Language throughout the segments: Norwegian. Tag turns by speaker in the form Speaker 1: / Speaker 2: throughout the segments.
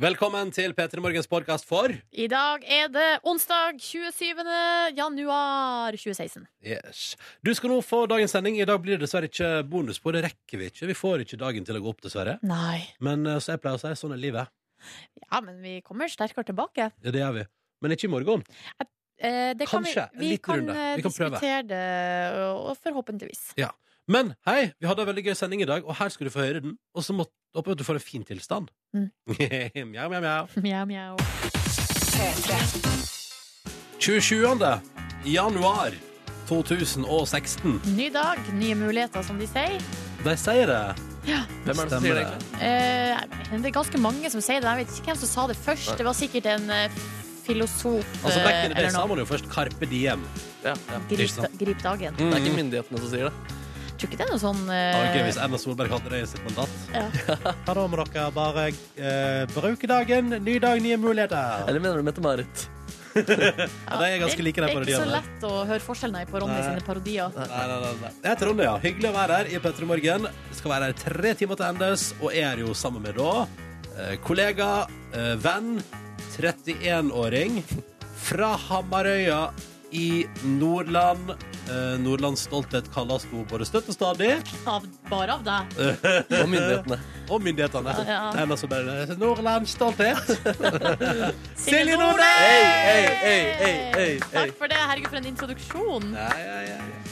Speaker 1: Velkommen til P3 Morgens podkast for
Speaker 2: I dag er det onsdag 27. januar 2016.
Speaker 1: Yes. Du skal nå få dagens sending. I dag blir det dessverre ikke bonusspor. Det rekker vi ikke. Vi får ikke dagen til å gå opp, dessverre.
Speaker 2: Nei.
Speaker 1: Men eh, så jeg pleier å si sånn er livet.
Speaker 2: Ja, men vi kommer sterkere tilbake.
Speaker 1: Ja, det gjør vi. Men ikke i morgen.
Speaker 2: Eh, det kan
Speaker 1: Kanskje, en
Speaker 2: Vi, vi
Speaker 1: liten
Speaker 2: kan,
Speaker 1: runde.
Speaker 2: eh,
Speaker 1: Vi kan prøve.
Speaker 2: diskutere det, og- og forhåpentligvis.
Speaker 1: Men hei, vi hadde en veldig gøy sending i dag, og her skal du få høre den. Og så må- håper jeg at du får en fin tilstand.
Speaker 2: Mm.
Speaker 1: mjau, mjau, mjau.
Speaker 2: Mjau, mjau.
Speaker 1: 27. januar 2016.
Speaker 2: Ny dag, nye muligheter, som de sier.
Speaker 1: De sier det.
Speaker 2: Ja.
Speaker 3: Hvem er det som
Speaker 1: Stemmer
Speaker 3: sier det
Speaker 1: det.
Speaker 3: egentlig?
Speaker 2: Eh, det er ganske mange som sier det. Jeg vet ikke hvem som sa det først.
Speaker 3: Nei.
Speaker 2: Det var sikkert en eh, filosof
Speaker 1: Altså, back in the day
Speaker 2: eh, eller
Speaker 1: sa
Speaker 2: noe.
Speaker 1: man jo først Carpe Diem.
Speaker 3: Ja, ja.
Speaker 1: Ikke
Speaker 2: Grip,
Speaker 1: sant.
Speaker 2: da- grip dagen.
Speaker 3: Det er ikke
Speaker 1: Mm.
Speaker 3: myndighetene som sier det.
Speaker 2: Tror ikke det er noe sånn
Speaker 1: Det var gøy
Speaker 2: eh,
Speaker 1: hvis Erna Solberg hadde det i sitt mandat.
Speaker 2: Ja.
Speaker 1: Ja, da må dere bare eh, bruke dagen. Ny dag, nye muligheter.
Speaker 3: Eller mener du Mette-Marit?
Speaker 1: Ja, de er ganske like, de
Speaker 2: Det er ikke så
Speaker 1: parodiene.
Speaker 2: lett å høre forskjellen her på Ronny
Speaker 1: Nei.
Speaker 2: sine parodier.
Speaker 1: Nei, nei, nei, nei. Jeg heter Ronny, ja. Hyggelig å være her i P3 Morgen. Skal være her tre timer til endes, og jeg er jo sammen med da eh, kollega, eh, venn, 31-åring fra Hamarøya i Nordland. Eh, Nordlands stolthet kalles nå både støtt og stadig.
Speaker 2: Av, bare av deg.
Speaker 3: Og myndighetene.
Speaker 1: Og myndighetene.
Speaker 2: Ja.
Speaker 1: Det er ellers så bare Nordlands stolthet. Silje
Speaker 2: Nordnes!
Speaker 1: Nordnes!
Speaker 3: Hei, hei, hei, hei, hei, hei.
Speaker 2: Takk for det. Herregud, for en introduksjon. Altså,
Speaker 1: Ja, ja, ja, ja.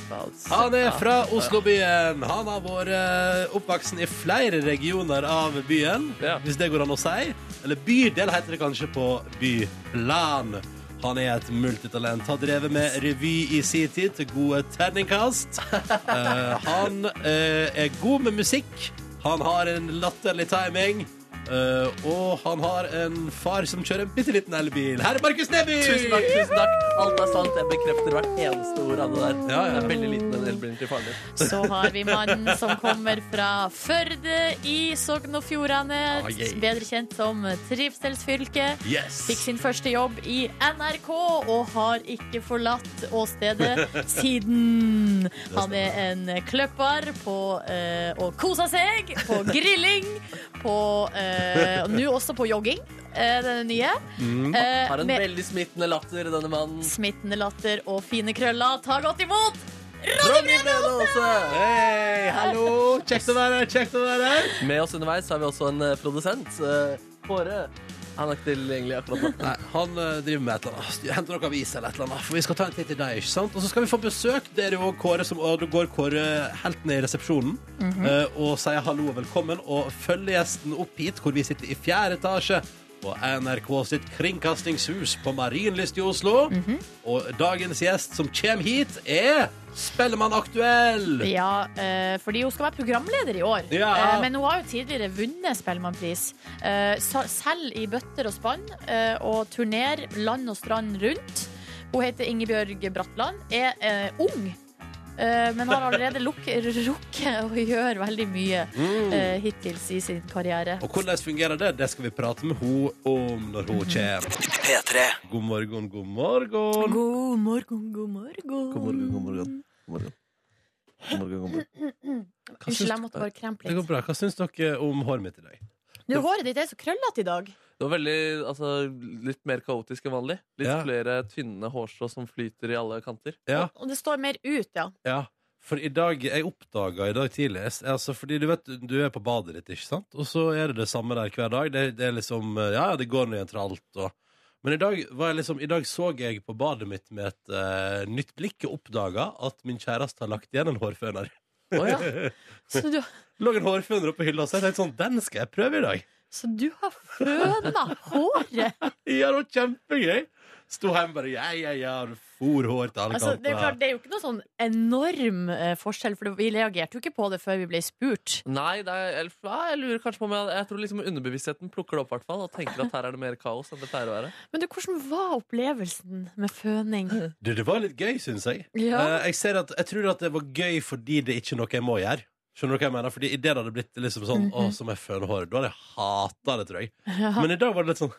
Speaker 1: Han er fra Oslo-byen. Han har vært oppvoksen i flere regioner av byen,
Speaker 3: Ja.
Speaker 1: hvis det går an å si. Eller bydel heter det kanskje på byplan. Han er et multitalent. Har drevet med revy i sin tid til gode terningkast. Eh, han eh, er god med musikk. Han har en latterlig timing. eh, og han har en far som kjører en bitte liten elbil. Her er Markus Neby!
Speaker 3: Tusen takk, tusen takk. Alt er sant. Jeg bekrefter hvert eneste ord av det der.
Speaker 1: Ja, ja.
Speaker 3: Jeg er veldig liten den elbilen til faren din.
Speaker 2: Så har vi mannen som kommer fra Førde i Sogn og Fjordane.
Speaker 1: Ah, yeah.
Speaker 2: Bedre kjent som Trivselsfylket.
Speaker 1: Yes.
Speaker 2: Fikk sin første jobb i NRK og har ikke forlatt åstedet siden. Han er en kløpper på eh, å kose seg, på grilling, på eh, og Nå også på jogging, eh, denne nye. Eh,
Speaker 3: Mm. Har en
Speaker 2: med-
Speaker 3: veldig smittende latter, denne mannen.
Speaker 2: Smittende latter og fine krøller. Ta godt imot!
Speaker 3: Ronny Brede Aase!
Speaker 1: Hei, hallo! Kjekt å være her, kjekt å være her.
Speaker 3: Med oss underveis har vi også en eh, produsent. eh, Kåre. Han er ikke tilgjengelig akkurat nå.
Speaker 1: Nei, han eh, driver med et eller annet. Henter noe avis eller et eller annet. For vi skal ta en titt i deg, ikke sant? Og så skal vi få besøk. Det er jo Kåre som og det går Kåre helt ned i resepsjonen eh, og sier hallo og velkommen, og følger gjesten opp hit, hvor vi sitter i fjerde etasje. På NRK sitt kringkastingshus på Marienlyst i Oslo. Og dagens gjest som kommer hit, er Spellemann Aktuell!
Speaker 2: Ja, eh, fordi hun skal være programleder i år.
Speaker 1: Ja.
Speaker 2: Eh, Men hun har jo tidligere vunnet Spellemannpris. Eh, sa- Selv i bøtter og spann, eh, og turner land og strand rundt. Hun heter Ingebjørg Bratland, er eh, ung. eh, Men har allerede luk- rukket å gjøre veldig mye
Speaker 1: Mm.
Speaker 2: eh, hittils i sin karriere.
Speaker 1: Og hvordan fungerer det, det skal vi prate med henne om når hun kommer.
Speaker 3: P3.
Speaker 1: God morgen, god morgen.
Speaker 2: God morgen, god morgen.
Speaker 3: God morgen, god morgen. God morgen. God morgen, god morgen.
Speaker 1: Hva syns-
Speaker 2: Unnskyld, jeg måtte bare krempe
Speaker 1: Det går
Speaker 2: litt.
Speaker 1: bra. Hva syns dere om håret mitt i dag?
Speaker 2: Du, håret ditt er så krøllete i dag.
Speaker 3: Det var veldig, altså, litt mer kaotisk enn vanlig. Litt
Speaker 1: Ja.
Speaker 3: flere tynne hårstrå som flyter i alle kanter.
Speaker 1: Ja,
Speaker 2: Og det står mer ut, ja.
Speaker 1: ja. For i dag, jeg oppdaga i dag tidlig altså Fordi du vet, du er på badet ditt, ikke sant? Og så er det det samme der hver dag. Det, det er liksom Ja, ja, det går nå igjen til alt og Men i dag, var jeg liksom, i dag så jeg på badet mitt med et eh, nytt blikk og oppdaga at min kjæreste har lagt igjen en hårføner.
Speaker 3: Å ja.
Speaker 2: Så du,
Speaker 1: Det Lå en hårføner oppe på hylla, så jeg tenkte sånn Den skal jeg prøve i dag!
Speaker 2: så du har føna håret!
Speaker 1: Ja, det var kjempegøy! Sto hjemme bare Ja, ja, ja. og For hår til alle
Speaker 2: Altså, det, er jo klart,
Speaker 1: kanter.
Speaker 2: det er jo ikke noe sånn enorm eh, forskjell, for det- vi reagerte jo ikke på det før vi ble spurt.
Speaker 3: Nei, det er, eller, ja, jeg lurer kanskje på om jeg, jeg tror liksom underbevisstheten plukker det opp hvertfall, og tenker at her er det mer kaos enn det pleier å være.
Speaker 2: Men du, hvordan var opplevelsen med føning?
Speaker 1: Du, det var litt gøy, syns jeg.
Speaker 2: Ja.
Speaker 1: Eh, jeg, ser at, jeg tror at det var gøy fordi det ikke er noe jeg må gjøre. Skjønner du hva jeg mener? Fordi i det hadde det blitt liksom sånn
Speaker 2: Mhm.
Speaker 1: Å, så må jeg føne håret. Da hadde jeg hata det, tror jeg. Men i dag var det litt sånn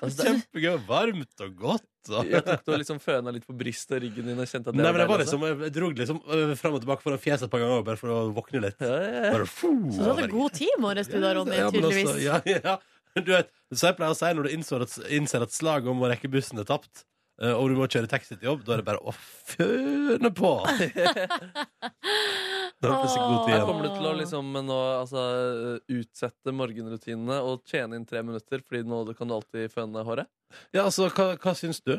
Speaker 3: Altså, det,
Speaker 1: kjempegøy. og Varmt og godt. Og...
Speaker 3: jeg tok du liksom føna litt på brystet og ryggen din og kjente at det
Speaker 1: Nei, men jeg,
Speaker 3: var
Speaker 1: var
Speaker 3: deilig, altså.
Speaker 1: liksom, jeg dro liksom øh, fram og tilbake foran fjeset et par ganger bare for å våkne litt.
Speaker 3: Ja, ja, ja.
Speaker 1: Bare,
Speaker 2: Så du hadde god tid i morges, du da, Ronny,
Speaker 1: Ja, men altså,
Speaker 2: tydeligvis.
Speaker 1: Ja, ja. Du vet, så jeg pleier å si når du innser at, innser at slaget om å rekke bussen er tapt, eh, og du må kjøre taxi til jobb, da er det bare å føne på! Da er det plutselig god tid
Speaker 3: Jeg
Speaker 1: igjen.
Speaker 3: kommer du til å liksom nå, altså, utsette morgenrutinene og tjene inn tre minutter, fordi nå kan du alltid føne håret?
Speaker 1: Ja, altså, hva, hva syns du?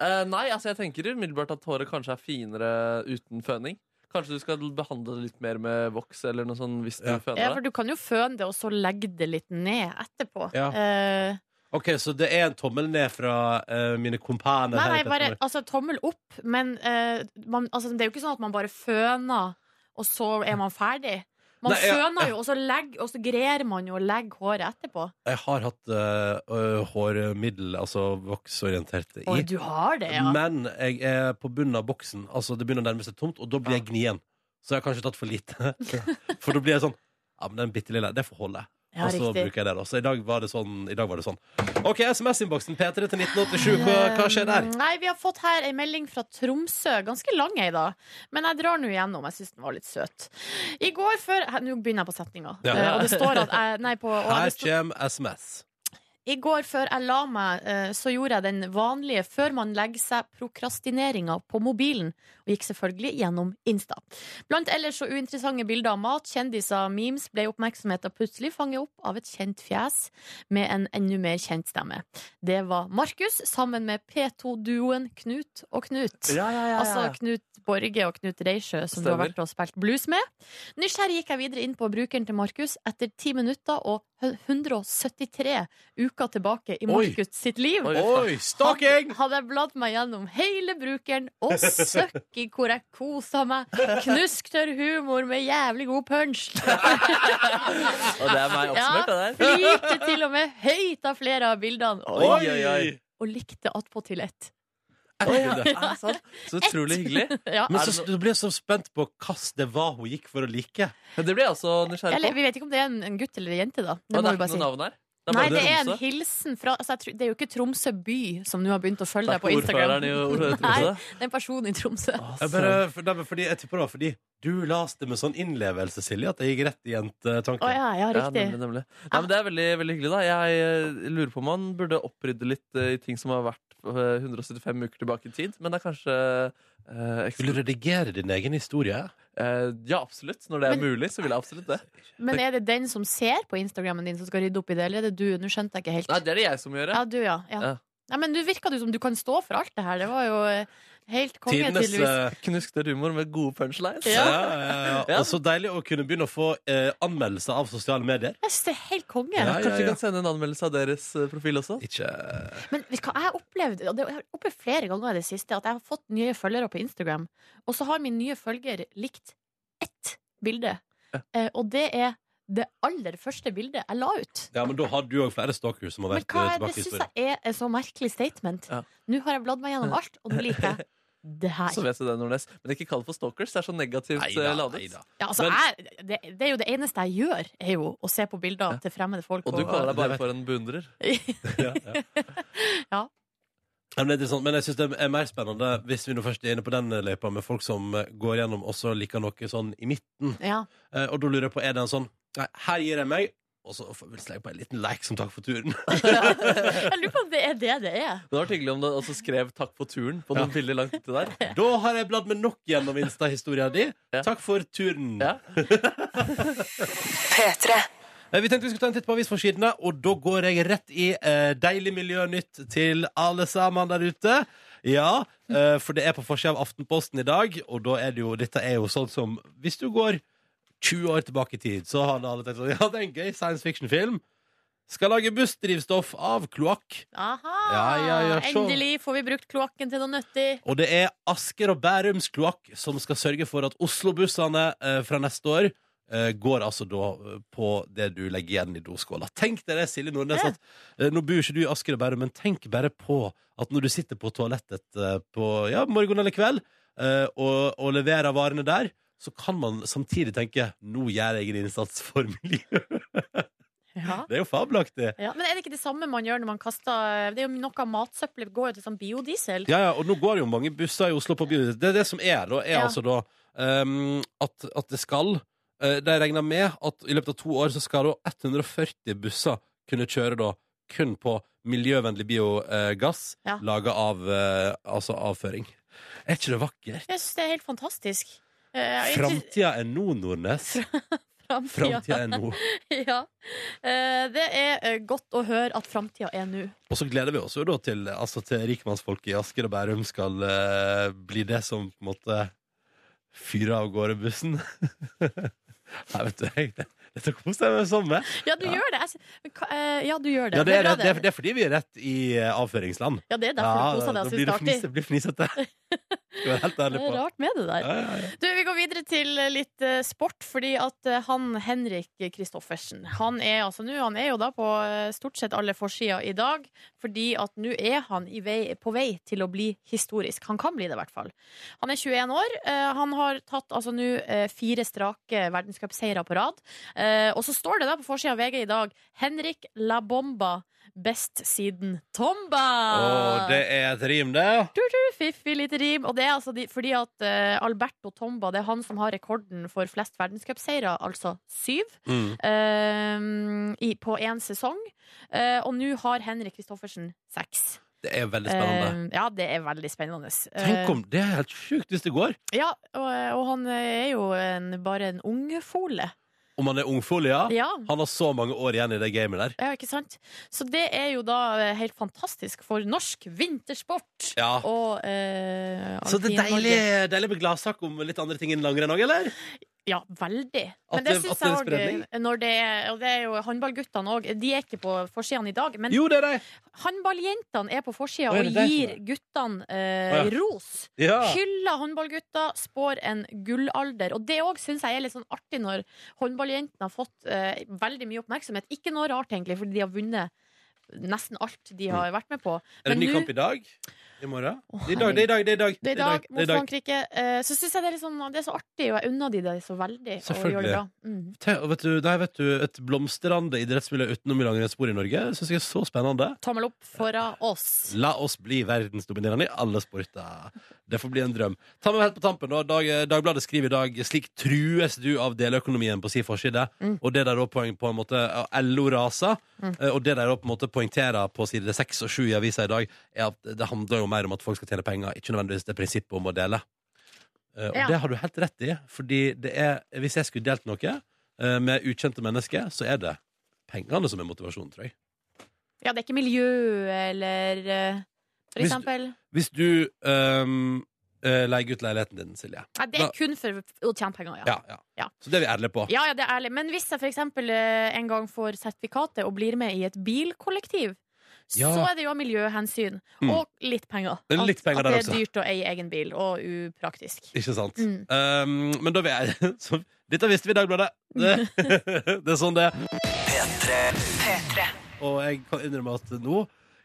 Speaker 3: Eh, nei, altså jeg tenker umiddelbart at håret kanskje er finere uten føning. Kanskje du skal behandle det litt mer med voks eller noe sånn hvis du
Speaker 1: Ja.
Speaker 3: føner
Speaker 2: Ja,
Speaker 3: det.
Speaker 2: for du kan jo føne det, og så legge det litt ned etterpå.
Speaker 1: Ja.
Speaker 2: Eh,
Speaker 1: OK, så det er en tommel ned fra eh, mine kompaner
Speaker 2: nei,
Speaker 1: her i
Speaker 2: nei, bare
Speaker 1: Petter Morgen.
Speaker 2: altså, tommel opp, men eh, man, altså, det er jo ikke sånn at man bare føner, og så er man ferdig. Man
Speaker 1: Nei, jeg-
Speaker 2: føner jo, og så, legg, og så grer man jo og legger håret etterpå.
Speaker 1: Jeg har hatt eh, ø, hårmiddel, altså voksorienterte,
Speaker 2: Oi,
Speaker 1: i.
Speaker 2: du har det, ja.
Speaker 1: Men jeg er på bunnen av boksen. Altså Det begynner å nærme seg tomt, og da blir jeg gnien. Så jeg har kanskje tatt for lite. for da blir jeg sånn Ja, men den bitte lille, det får holde.
Speaker 2: ja
Speaker 1: og så
Speaker 2: riktig.
Speaker 1: altså, bruker jeg det. da Så i dag var det sånn. I dag var det sånn. OK, SMS-innboksen P3 til 1987. Hva, hva skjer der?
Speaker 2: Eh, Nei, Vi har fått her ei melding fra Tromsø. Ganske lang ei, da. Men jeg drar nå igjennom. Jeg syns den var litt søt. I går før Hæ, Nå begynner jeg på setninga.
Speaker 1: Ja.
Speaker 2: Eh, Og det står at jeg Nei, på og jeg-
Speaker 1: Her
Speaker 2: det sto-
Speaker 1: kommer SMS.
Speaker 2: I går før jeg la meg, eh, så gjorde jeg den vanlige før man legger seg prokrastineringa på mobilen, og gikk selvfølgelig gjennom Insta. Blant ellers så uinteressante bilder av mat, kjendiser, memes ble oppmerksomheten plutselig fanget opp av et kjent fjes med en enda mer kjent stemme. Det var Markus sammen med P2-duoen Knut og Knut.
Speaker 3: Ja, ja, ja,
Speaker 2: Altså Knut Borge og Knut Reisjø, som du har
Speaker 3: Stemmer.
Speaker 2: vært og spilt blues med. Nysgjerrig gikk jeg videre inn på brukeren til Markus etter 10 minutter og 173 uker tilbake i
Speaker 1: Oi.
Speaker 2: Markus sitt liv.
Speaker 3: Oi,
Speaker 1: Oi, stalking!
Speaker 2: Hadde jeg bladd meg gjennom hele brukeren og søkk i hvor jeg kosa meg. Knusktørr humor med jævlig god punch.
Speaker 3: Og det er meg
Speaker 2: Ja,
Speaker 3: oppsummert, det der.
Speaker 2: flirte til og med høyt av flere av bildene.
Speaker 1: Oi,
Speaker 2: Og,
Speaker 1: oi, oi.
Speaker 2: og likte attpåtil ett.
Speaker 3: Oi, ja. Er det sant? Så utrolig hyggelig.
Speaker 2: Ja.
Speaker 1: Men
Speaker 3: Er det
Speaker 1: så, du ble så spent på hva det var hun gikk for å like.
Speaker 3: Men det blir jeg også nysgjerrig
Speaker 2: Eller,
Speaker 3: på.
Speaker 2: vi vet ikke om det er en, en gutt eller en jente, da. Det
Speaker 3: Og
Speaker 2: må
Speaker 3: det
Speaker 2: vi
Speaker 3: er
Speaker 2: bare
Speaker 3: ikke
Speaker 2: si.
Speaker 3: noe navn her. Det
Speaker 2: Nei,
Speaker 3: bare
Speaker 2: det er en
Speaker 3: Tromsø.
Speaker 2: hilsen fra altså, jeg tror, Det er jo ikke Tromsø by som nå har begynt å følge
Speaker 3: Det er
Speaker 2: deg på
Speaker 3: ikke
Speaker 2: Instagram.
Speaker 3: ordføreren i Tromsø.
Speaker 2: Nei, det er en person i Tromsø.
Speaker 1: Jeg, bare,
Speaker 2: Altså.
Speaker 1: for, nei, men fordi, jeg tipper det var fordi du leste med sånn innlevelse, Silje, at jeg gikk rett i jentetanken.
Speaker 2: Å ja, ja,
Speaker 3: Ja,
Speaker 2: riktig.
Speaker 3: nemlig, nemlig. Nei, men det er veldig, veldig hyggelig. da Jeg eh, lurer på om man burde opprydde litt eh, i ting som har vært eh, 175 uker tilbake i tid. Men det er kanskje eh, eks-
Speaker 1: Vil du redigere din egen historie?
Speaker 3: eh, Ja, absolutt. Når det er mulig, så vil jeg absolutt det.
Speaker 2: Men er det den som ser på Instagrammen din, som skal rydde opp i det, eller er det du? Nå skjønte jeg ikke helt.
Speaker 3: Nei, det er det jeg som gjør.
Speaker 2: Ja,
Speaker 3: Ja.
Speaker 2: du, ja. ja.
Speaker 3: Ja.
Speaker 2: Nei, men du virka du som du kan stå for alt det her. Det var jo eh, helt konge,
Speaker 1: Tidenes
Speaker 2: tydeligvis.
Speaker 1: eh,
Speaker 3: Knuskete humor med gode punchlines. Eh,
Speaker 1: ja.
Speaker 2: Ja.
Speaker 1: Ja, ja,
Speaker 3: Ja.
Speaker 1: Og så deilig å kunne begynne å få eh, anmeldelser av sosiale medier.
Speaker 2: Jeg syns det er helt konge.
Speaker 1: Ja,
Speaker 3: Kanskje vi kan sende en anmeldelse av deres eh, profil også?
Speaker 1: Ikke
Speaker 2: Men vet du hva jeg har opplevd, og det har jeg opplevd flere ganger i det siste, at jeg har fått nye følgere på Instagram, og så har min nye følger likt ett bilde. Eh, og det er det aller første bildet jeg la ut.
Speaker 1: Ja, men da har du òg flere stalkers som har
Speaker 2: Men
Speaker 1: vært
Speaker 2: hva
Speaker 1: eh,
Speaker 2: er det
Speaker 1: tilbake i
Speaker 2: syns
Speaker 1: historien.
Speaker 2: jeg er et så merkelig statement?
Speaker 3: Ja.
Speaker 2: Nå har jeg bladd meg gjennom alt, og nå liker jeg det her.
Speaker 3: Så vet du det, Nordnes. Men ikke kall det for stalkers. Det er så negativt eh,
Speaker 1: Neida,
Speaker 3: ladet.
Speaker 1: neida.
Speaker 2: Ja, altså, jeg, det, det er jo det eneste jeg gjør, er jo å se på bilder til fremmede folk.
Speaker 3: Og du kaller deg
Speaker 1: Det
Speaker 3: bare for en beundrer.
Speaker 1: Ja, ja.
Speaker 2: Ja.
Speaker 1: Ja, Men, det er interessant, men jeg syns det er mer spennende hvis vi nå først er inne på den løypa med folk som eh, går gjennom og så liker noe sånn i midten.
Speaker 2: ja.
Speaker 1: Eh, og da lurer jeg på, er det en sånn Nei, her gir jeg meg, og så får vi slenge på en liten like som takk for turen.
Speaker 2: Jeg lurer på om det er det det er.
Speaker 3: Det hadde vært hyggelig om du også skrev 'takk for turen' på noen bilder langt uti der.
Speaker 1: Da har jeg bladd meg nok gjennom Insta-historia di.
Speaker 3: Ja.
Speaker 1: Takk for turen.
Speaker 3: Ja.
Speaker 1: Eh, Vi tenkte vi skulle ta en titt på avisforsidene, og da går jeg rett i eh, deilig miljønytt til alle sammen der ute. Ja, eh, for det er på forsida av Aftenposten i dag, og da er det jo, dette er jo sånn som Hvis du går 20 år tilbake i tid, så hadde alle tenkt sånn Ja, det er en gøy science fiction-film. Skal lage bussdrivstoff av kloakk.
Speaker 2: Aha!
Speaker 1: Ja, ja, ja, så-
Speaker 2: Endelig får vi brukt kloakken til noe nyttig.
Speaker 1: Og det er Asker og Bærums kloakk som skal sørge for at Oslo-bussene eh, fra neste år eh, går altså da eh, på det du legger igjen i doskåla. Tenk deg det, Silje Nordnes.
Speaker 2: Ja.
Speaker 1: At, eh, nå bor ikke du i Asker og Bærum, men tenk bare på at når du sitter på toalettet eh, på ja, morgen eller kveld eh, og, og leverer varene der, så kan man samtidig tenke nå gjør jeg en innsats for miljøet.
Speaker 2: Ja.
Speaker 1: Det er jo fabelaktig.
Speaker 2: Ja, men er det ikke det samme man gjør når man kaster Det er jo noe av matsøppelet går jo til sånn biodiesel.
Speaker 1: Ja, ja, og nå går jo mange busser i Oslo på byen. Det er det som er, da, er
Speaker 2: Ja.
Speaker 1: altså da ehm, at, at det skal eh, De regner med at i løpet av to år så skal da 140 busser kunne kjøre da kun på miljøvennlig biogass
Speaker 2: Ja.
Speaker 1: laga av eh, altså avføring. Er ikke det vakkert?
Speaker 2: Jeg syns det er helt fantastisk. Eh, jeg synes-
Speaker 1: Framtida er nå, Nordnes.
Speaker 2: Framtida.
Speaker 1: Framtida er nå.
Speaker 2: Ja. Eh, Det er eh, godt å høre at framtida er nå.
Speaker 1: Og så gleder vi oss jo da til altså til rikmannsfolket i Asker og Bærum skal eh, bli det som på en måte fyrer av gårde bussen. Nei, vet du, jeg, dette koser jeg meg sånn med.
Speaker 2: Ja, du
Speaker 1: Ja.
Speaker 2: gjør det! Jeg sy- Men hva- eh, Ja, du gjør det.
Speaker 1: Ja, det, er,
Speaker 2: bra,
Speaker 1: det, er, det er fordi vi er rett i eh, avføringsland.
Speaker 2: Ja, det er derfor
Speaker 1: Ja,
Speaker 2: du koser deg
Speaker 1: da
Speaker 2: og
Speaker 1: blir
Speaker 2: syns
Speaker 1: det fnise,
Speaker 2: det er artig.
Speaker 1: blir fnisete. Skal være helt
Speaker 2: Det
Speaker 1: ærlig på.
Speaker 2: er rart med det der.
Speaker 1: Ja, ja, ja.
Speaker 2: Du, Vi går videre til eh, litt eh, sport, fordi at eh, han Henrik Kristoffersen Han er altså nå, han er jo da på eh, stort sett alle forsider i dag, fordi at nå er han i vei, på vei til å bli historisk. Han kan bli det, i hvert fall. Han er 21 år. eh, Han har tatt altså nå eh, fire strake verdenscupseiere på rad. Eh, Og så står det da på forsida av VG i dag Henrik La Bomba, best siden Tomba!
Speaker 1: Og det er et rim, det.
Speaker 2: Fiffig lite rim. Og det er altså de, fordi at eh, Alberto Tomba det er han som har rekorden for flest verdenscupseire, altså syv, eh, i, på én sesong. Eh, og nå har Henrik Kristoffersen seks.
Speaker 1: Det er veldig spennende.
Speaker 2: Eh, ja, det er veldig spennende.
Speaker 1: Tenk om Det er helt sjukt hvis det går.
Speaker 2: Eh, ja, og, og han eh, er jo en, bare en ungfole.
Speaker 1: Om han er ungfolia.
Speaker 2: Ja.
Speaker 1: Han har så mange år igjen i det gamet der.
Speaker 2: ja, ikke sant? Så det er jo da eh, helt fantastisk for norsk vintersport.
Speaker 1: Ja.
Speaker 2: Og eh,
Speaker 1: Så det er
Speaker 2: alpin-Norge.
Speaker 1: deilig, deilig med gladsak om litt andre ting enn langrenn òg, eller?
Speaker 2: Ja, veldig.
Speaker 1: At
Speaker 2: Men det
Speaker 1: det-
Speaker 2: syns
Speaker 1: at det er
Speaker 2: jeg
Speaker 1: spredning?
Speaker 2: òg når det er Og det er jo håndballguttene òg. De er ikke på forsidene i dag, men
Speaker 1: Jo, det er det!
Speaker 2: håndballjentene er på forsida
Speaker 1: Å, er
Speaker 2: og
Speaker 1: det
Speaker 2: gir
Speaker 1: derfor?
Speaker 2: guttene eh,
Speaker 1: Å, ja.
Speaker 2: ros.
Speaker 1: Ja.
Speaker 2: Hyller håndballgutter, spår en gullalder. Og det òg syns jeg er litt sånn artig når håndballjentene har fått eh, veldig mye oppmerksomhet. Ikke noe rart, egentlig, fordi de har vunnet nesten alt de har vært med på.
Speaker 1: Er det ny
Speaker 2: nå-
Speaker 1: kamp i dag? I morgen?
Speaker 2: Å,
Speaker 1: Det er i dag, det er i dag, det er i dag.
Speaker 2: Det er i dag
Speaker 1: det er
Speaker 2: mot Frankrike. Eh, så syns jeg det er, litt sånn, det er så artig, og jeg unner de det så veldig. Og gjør det bra.
Speaker 1: Selvfølgelig.
Speaker 2: Mm.
Speaker 1: Te- og Vet du, nei, vet du, et blomstrende idrettsmiljø utenom langrennsspor i Norge syns jeg er så spennende.
Speaker 2: Tommel opp foran oss.
Speaker 1: La oss bli verdensdominerende i alle sporter. Det får bli en drøm. Ta med helt på tampen da. Dag, eh, Dagbladet skriver i dag slik trues du av deløkonomien på si forside.
Speaker 2: Mm.
Speaker 1: Og det der også poeng på en måte ja, LO raser. eh, Og det der også på en måte poengterer på side 6 og 7 i avisa i dag, er at det handler jo mer om at folk skal tjene penger, ikke nødvendigvis det prinsippet om å dele. Eh, Og
Speaker 2: Ja.
Speaker 1: det har du helt rett i, fordi det er, hvis jeg skulle delt noe eh, med ukjente mennesker, så er det pengene som er motivasjonen, tror jeg.
Speaker 2: Ja, det er ikke miljø eller eh, for
Speaker 1: Hvis-
Speaker 2: eksempel.
Speaker 1: Hvis du ehm, eh, leier ut leiligheten din, Silje
Speaker 2: Nei, det
Speaker 1: da-
Speaker 2: er kun for å tjene penger, ja.
Speaker 1: ja, ja.
Speaker 2: Ja.
Speaker 1: Så det er vi ærlige på.
Speaker 2: Ja, ja, det er ærlig. Men hvis jeg for eksempel eh, en gang får sertifikatet og blir med i et bilkollektiv,
Speaker 1: Ja.
Speaker 2: så er det jo av miljøhensyn.
Speaker 1: Mm.
Speaker 2: Og litt penger.
Speaker 1: Det er litt penger
Speaker 2: at, at
Speaker 1: der
Speaker 2: det
Speaker 1: også.
Speaker 2: er dyrt å eie egen bil, og upraktisk.
Speaker 1: Ikke sant?
Speaker 2: Mm.
Speaker 1: Ehm, men da vil jeg så, Dette visste vi i Dagbladet. Det,
Speaker 2: Mm.
Speaker 1: det er sånn det er. Og jeg kan innrømme at nå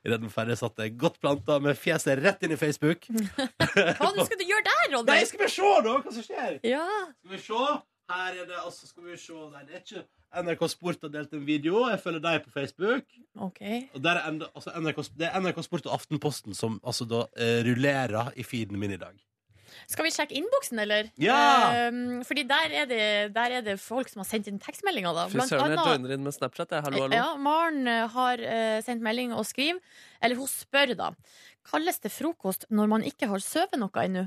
Speaker 1: i den ferdige satt jeg godt planta med fjeset rett inn i Facebook.
Speaker 2: Mm. Hva nå skal du gjøre der,
Speaker 1: Nei,
Speaker 2: Ronny?
Speaker 1: skal vi se, da! Hva som skjer?
Speaker 2: Ja.
Speaker 1: Skal vi se. Her er det altså Skal vi se. Nei, det er ikke NRK Sport har delt en video. Jeg følger deg på Facebook.
Speaker 2: OK.
Speaker 1: Og der er enda, altså NRK, det er NRK Sport og Aftenposten som altså da eh, rullerer i feeden min i dag.
Speaker 2: Skal vi sjekke innboksen, eller?
Speaker 1: Ja!
Speaker 2: Eh, fordi der er, det, der er det folk som har sendt inn tekstmeldinger, da.
Speaker 3: Fy søren, jeg joiner inn med Snapchat. Jeg. Hallo, hallo.
Speaker 2: Ja, Maren eh, har eh, sendt melding og skriver Eller hun spør, da. Kalles det frokost når man ikke har sovet noe ennå?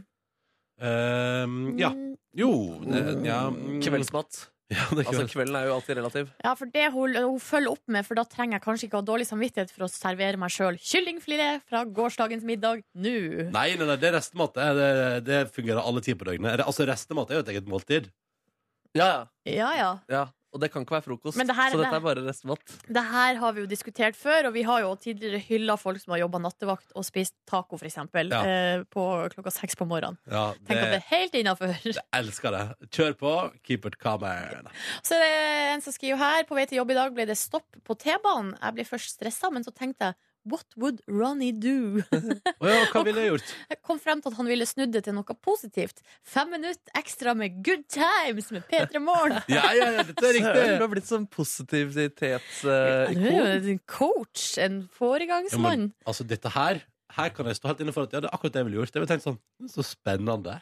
Speaker 1: Ehm, ja.
Speaker 2: Mm,
Speaker 1: Jo det- ja, mm.
Speaker 3: Kveldsmat.
Speaker 1: Ja, det er
Speaker 3: Altså,
Speaker 1: kveld.
Speaker 3: kvelden er jo alltid relativ.
Speaker 2: ja, for det hun, hun følger opp med, for da trenger jeg kanskje ikke ha dårlig samvittighet for å servere meg sjøl kyllingfilet fra gårsdagens middag nå.
Speaker 1: Nei, nei, nei, det er restemat. Det, det, det fungerer alle tider på døgnet. Re- Altså, Restemat er jo et eget måltid.
Speaker 3: Ja, ja.
Speaker 2: Ja, ja.
Speaker 3: ja. Og det kan ikke være frokost,
Speaker 2: Men det her-
Speaker 3: så
Speaker 2: det-
Speaker 3: dette er bare restmat.
Speaker 2: Det her har vi jo diskutert før, og vi har jo tidligere hylla folk som har jobba nattevakt og spist taco, f.eks., eksempel
Speaker 1: Ja.
Speaker 2: eh, på klokka seks på morgenen.
Speaker 1: Ja, det,
Speaker 2: Tenk at det er helt innafor.
Speaker 1: jeg elsker det. Kjør på. Keep it calm. man.
Speaker 2: Så er det en som skriver her På vei til jobb i dag ble det stopp på T-banen Jeg ble først stresset, men så tenkte jeg What would Ronny do?
Speaker 1: Å ja, hva ville jeg gjort?
Speaker 2: Jeg kom frem til at han ville snudde det til noe positivt Fem minutter ekstra med good times Med Petra Målen
Speaker 1: Ja, ja, ja, dette er riktig.
Speaker 3: Søren, du har blitt sånn
Speaker 2: Han er jo
Speaker 3: eh, positivitetsikon.
Speaker 2: en coach, en
Speaker 1: Ja, men,
Speaker 2: foregangsmann
Speaker 1: altså, dette her Her kan jeg stå helt inne for at ja, det er akkurat det jeg ville gjort. Jeg ville tenkt sånn Så spennende.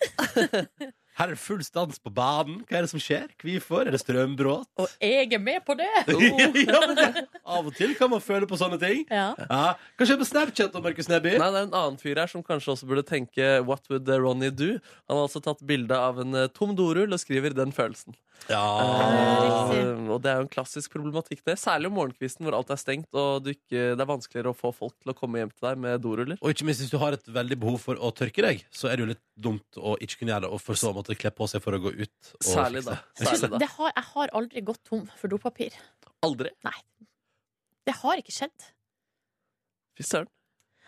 Speaker 1: Her er det full stans på banen. Hva er det som skjer? Hvorfor? Er det strømbråt?
Speaker 2: Og jeg er med på det!
Speaker 1: ja, men det, av og til kan man føle på sånne ting.
Speaker 2: Ja.
Speaker 1: Ja. Hva skjer med Snapchat da, Markus Neby?
Speaker 3: Nei, det er en annen fyr her som kanskje også burde tenke What would Ronny do? Han har altså tatt bilde av en eh, tom dorull og skriver den følelsen.
Speaker 1: Ah, Ja.
Speaker 2: riktig.
Speaker 3: Eh, og det er jo en klassisk problematikk, det. Særlig om morgenkvisten hvor alt er stengt og du ikke, det er vanskeligere å få folk til å komme hjem til deg med doruller.
Speaker 1: Og ikke minst hvis du har et veldig behov for å tørke deg, så er det jo litt dumt å ikke kunne gjøre det, og for så å måtte kle på seg for å gå ut. Og
Speaker 3: Særlig da. Særlig da.
Speaker 2: Det har, jeg har aldri gått tom for dopapir.
Speaker 3: Aldri.
Speaker 2: Nei. Det har ikke skjedd.
Speaker 3: Fy søren.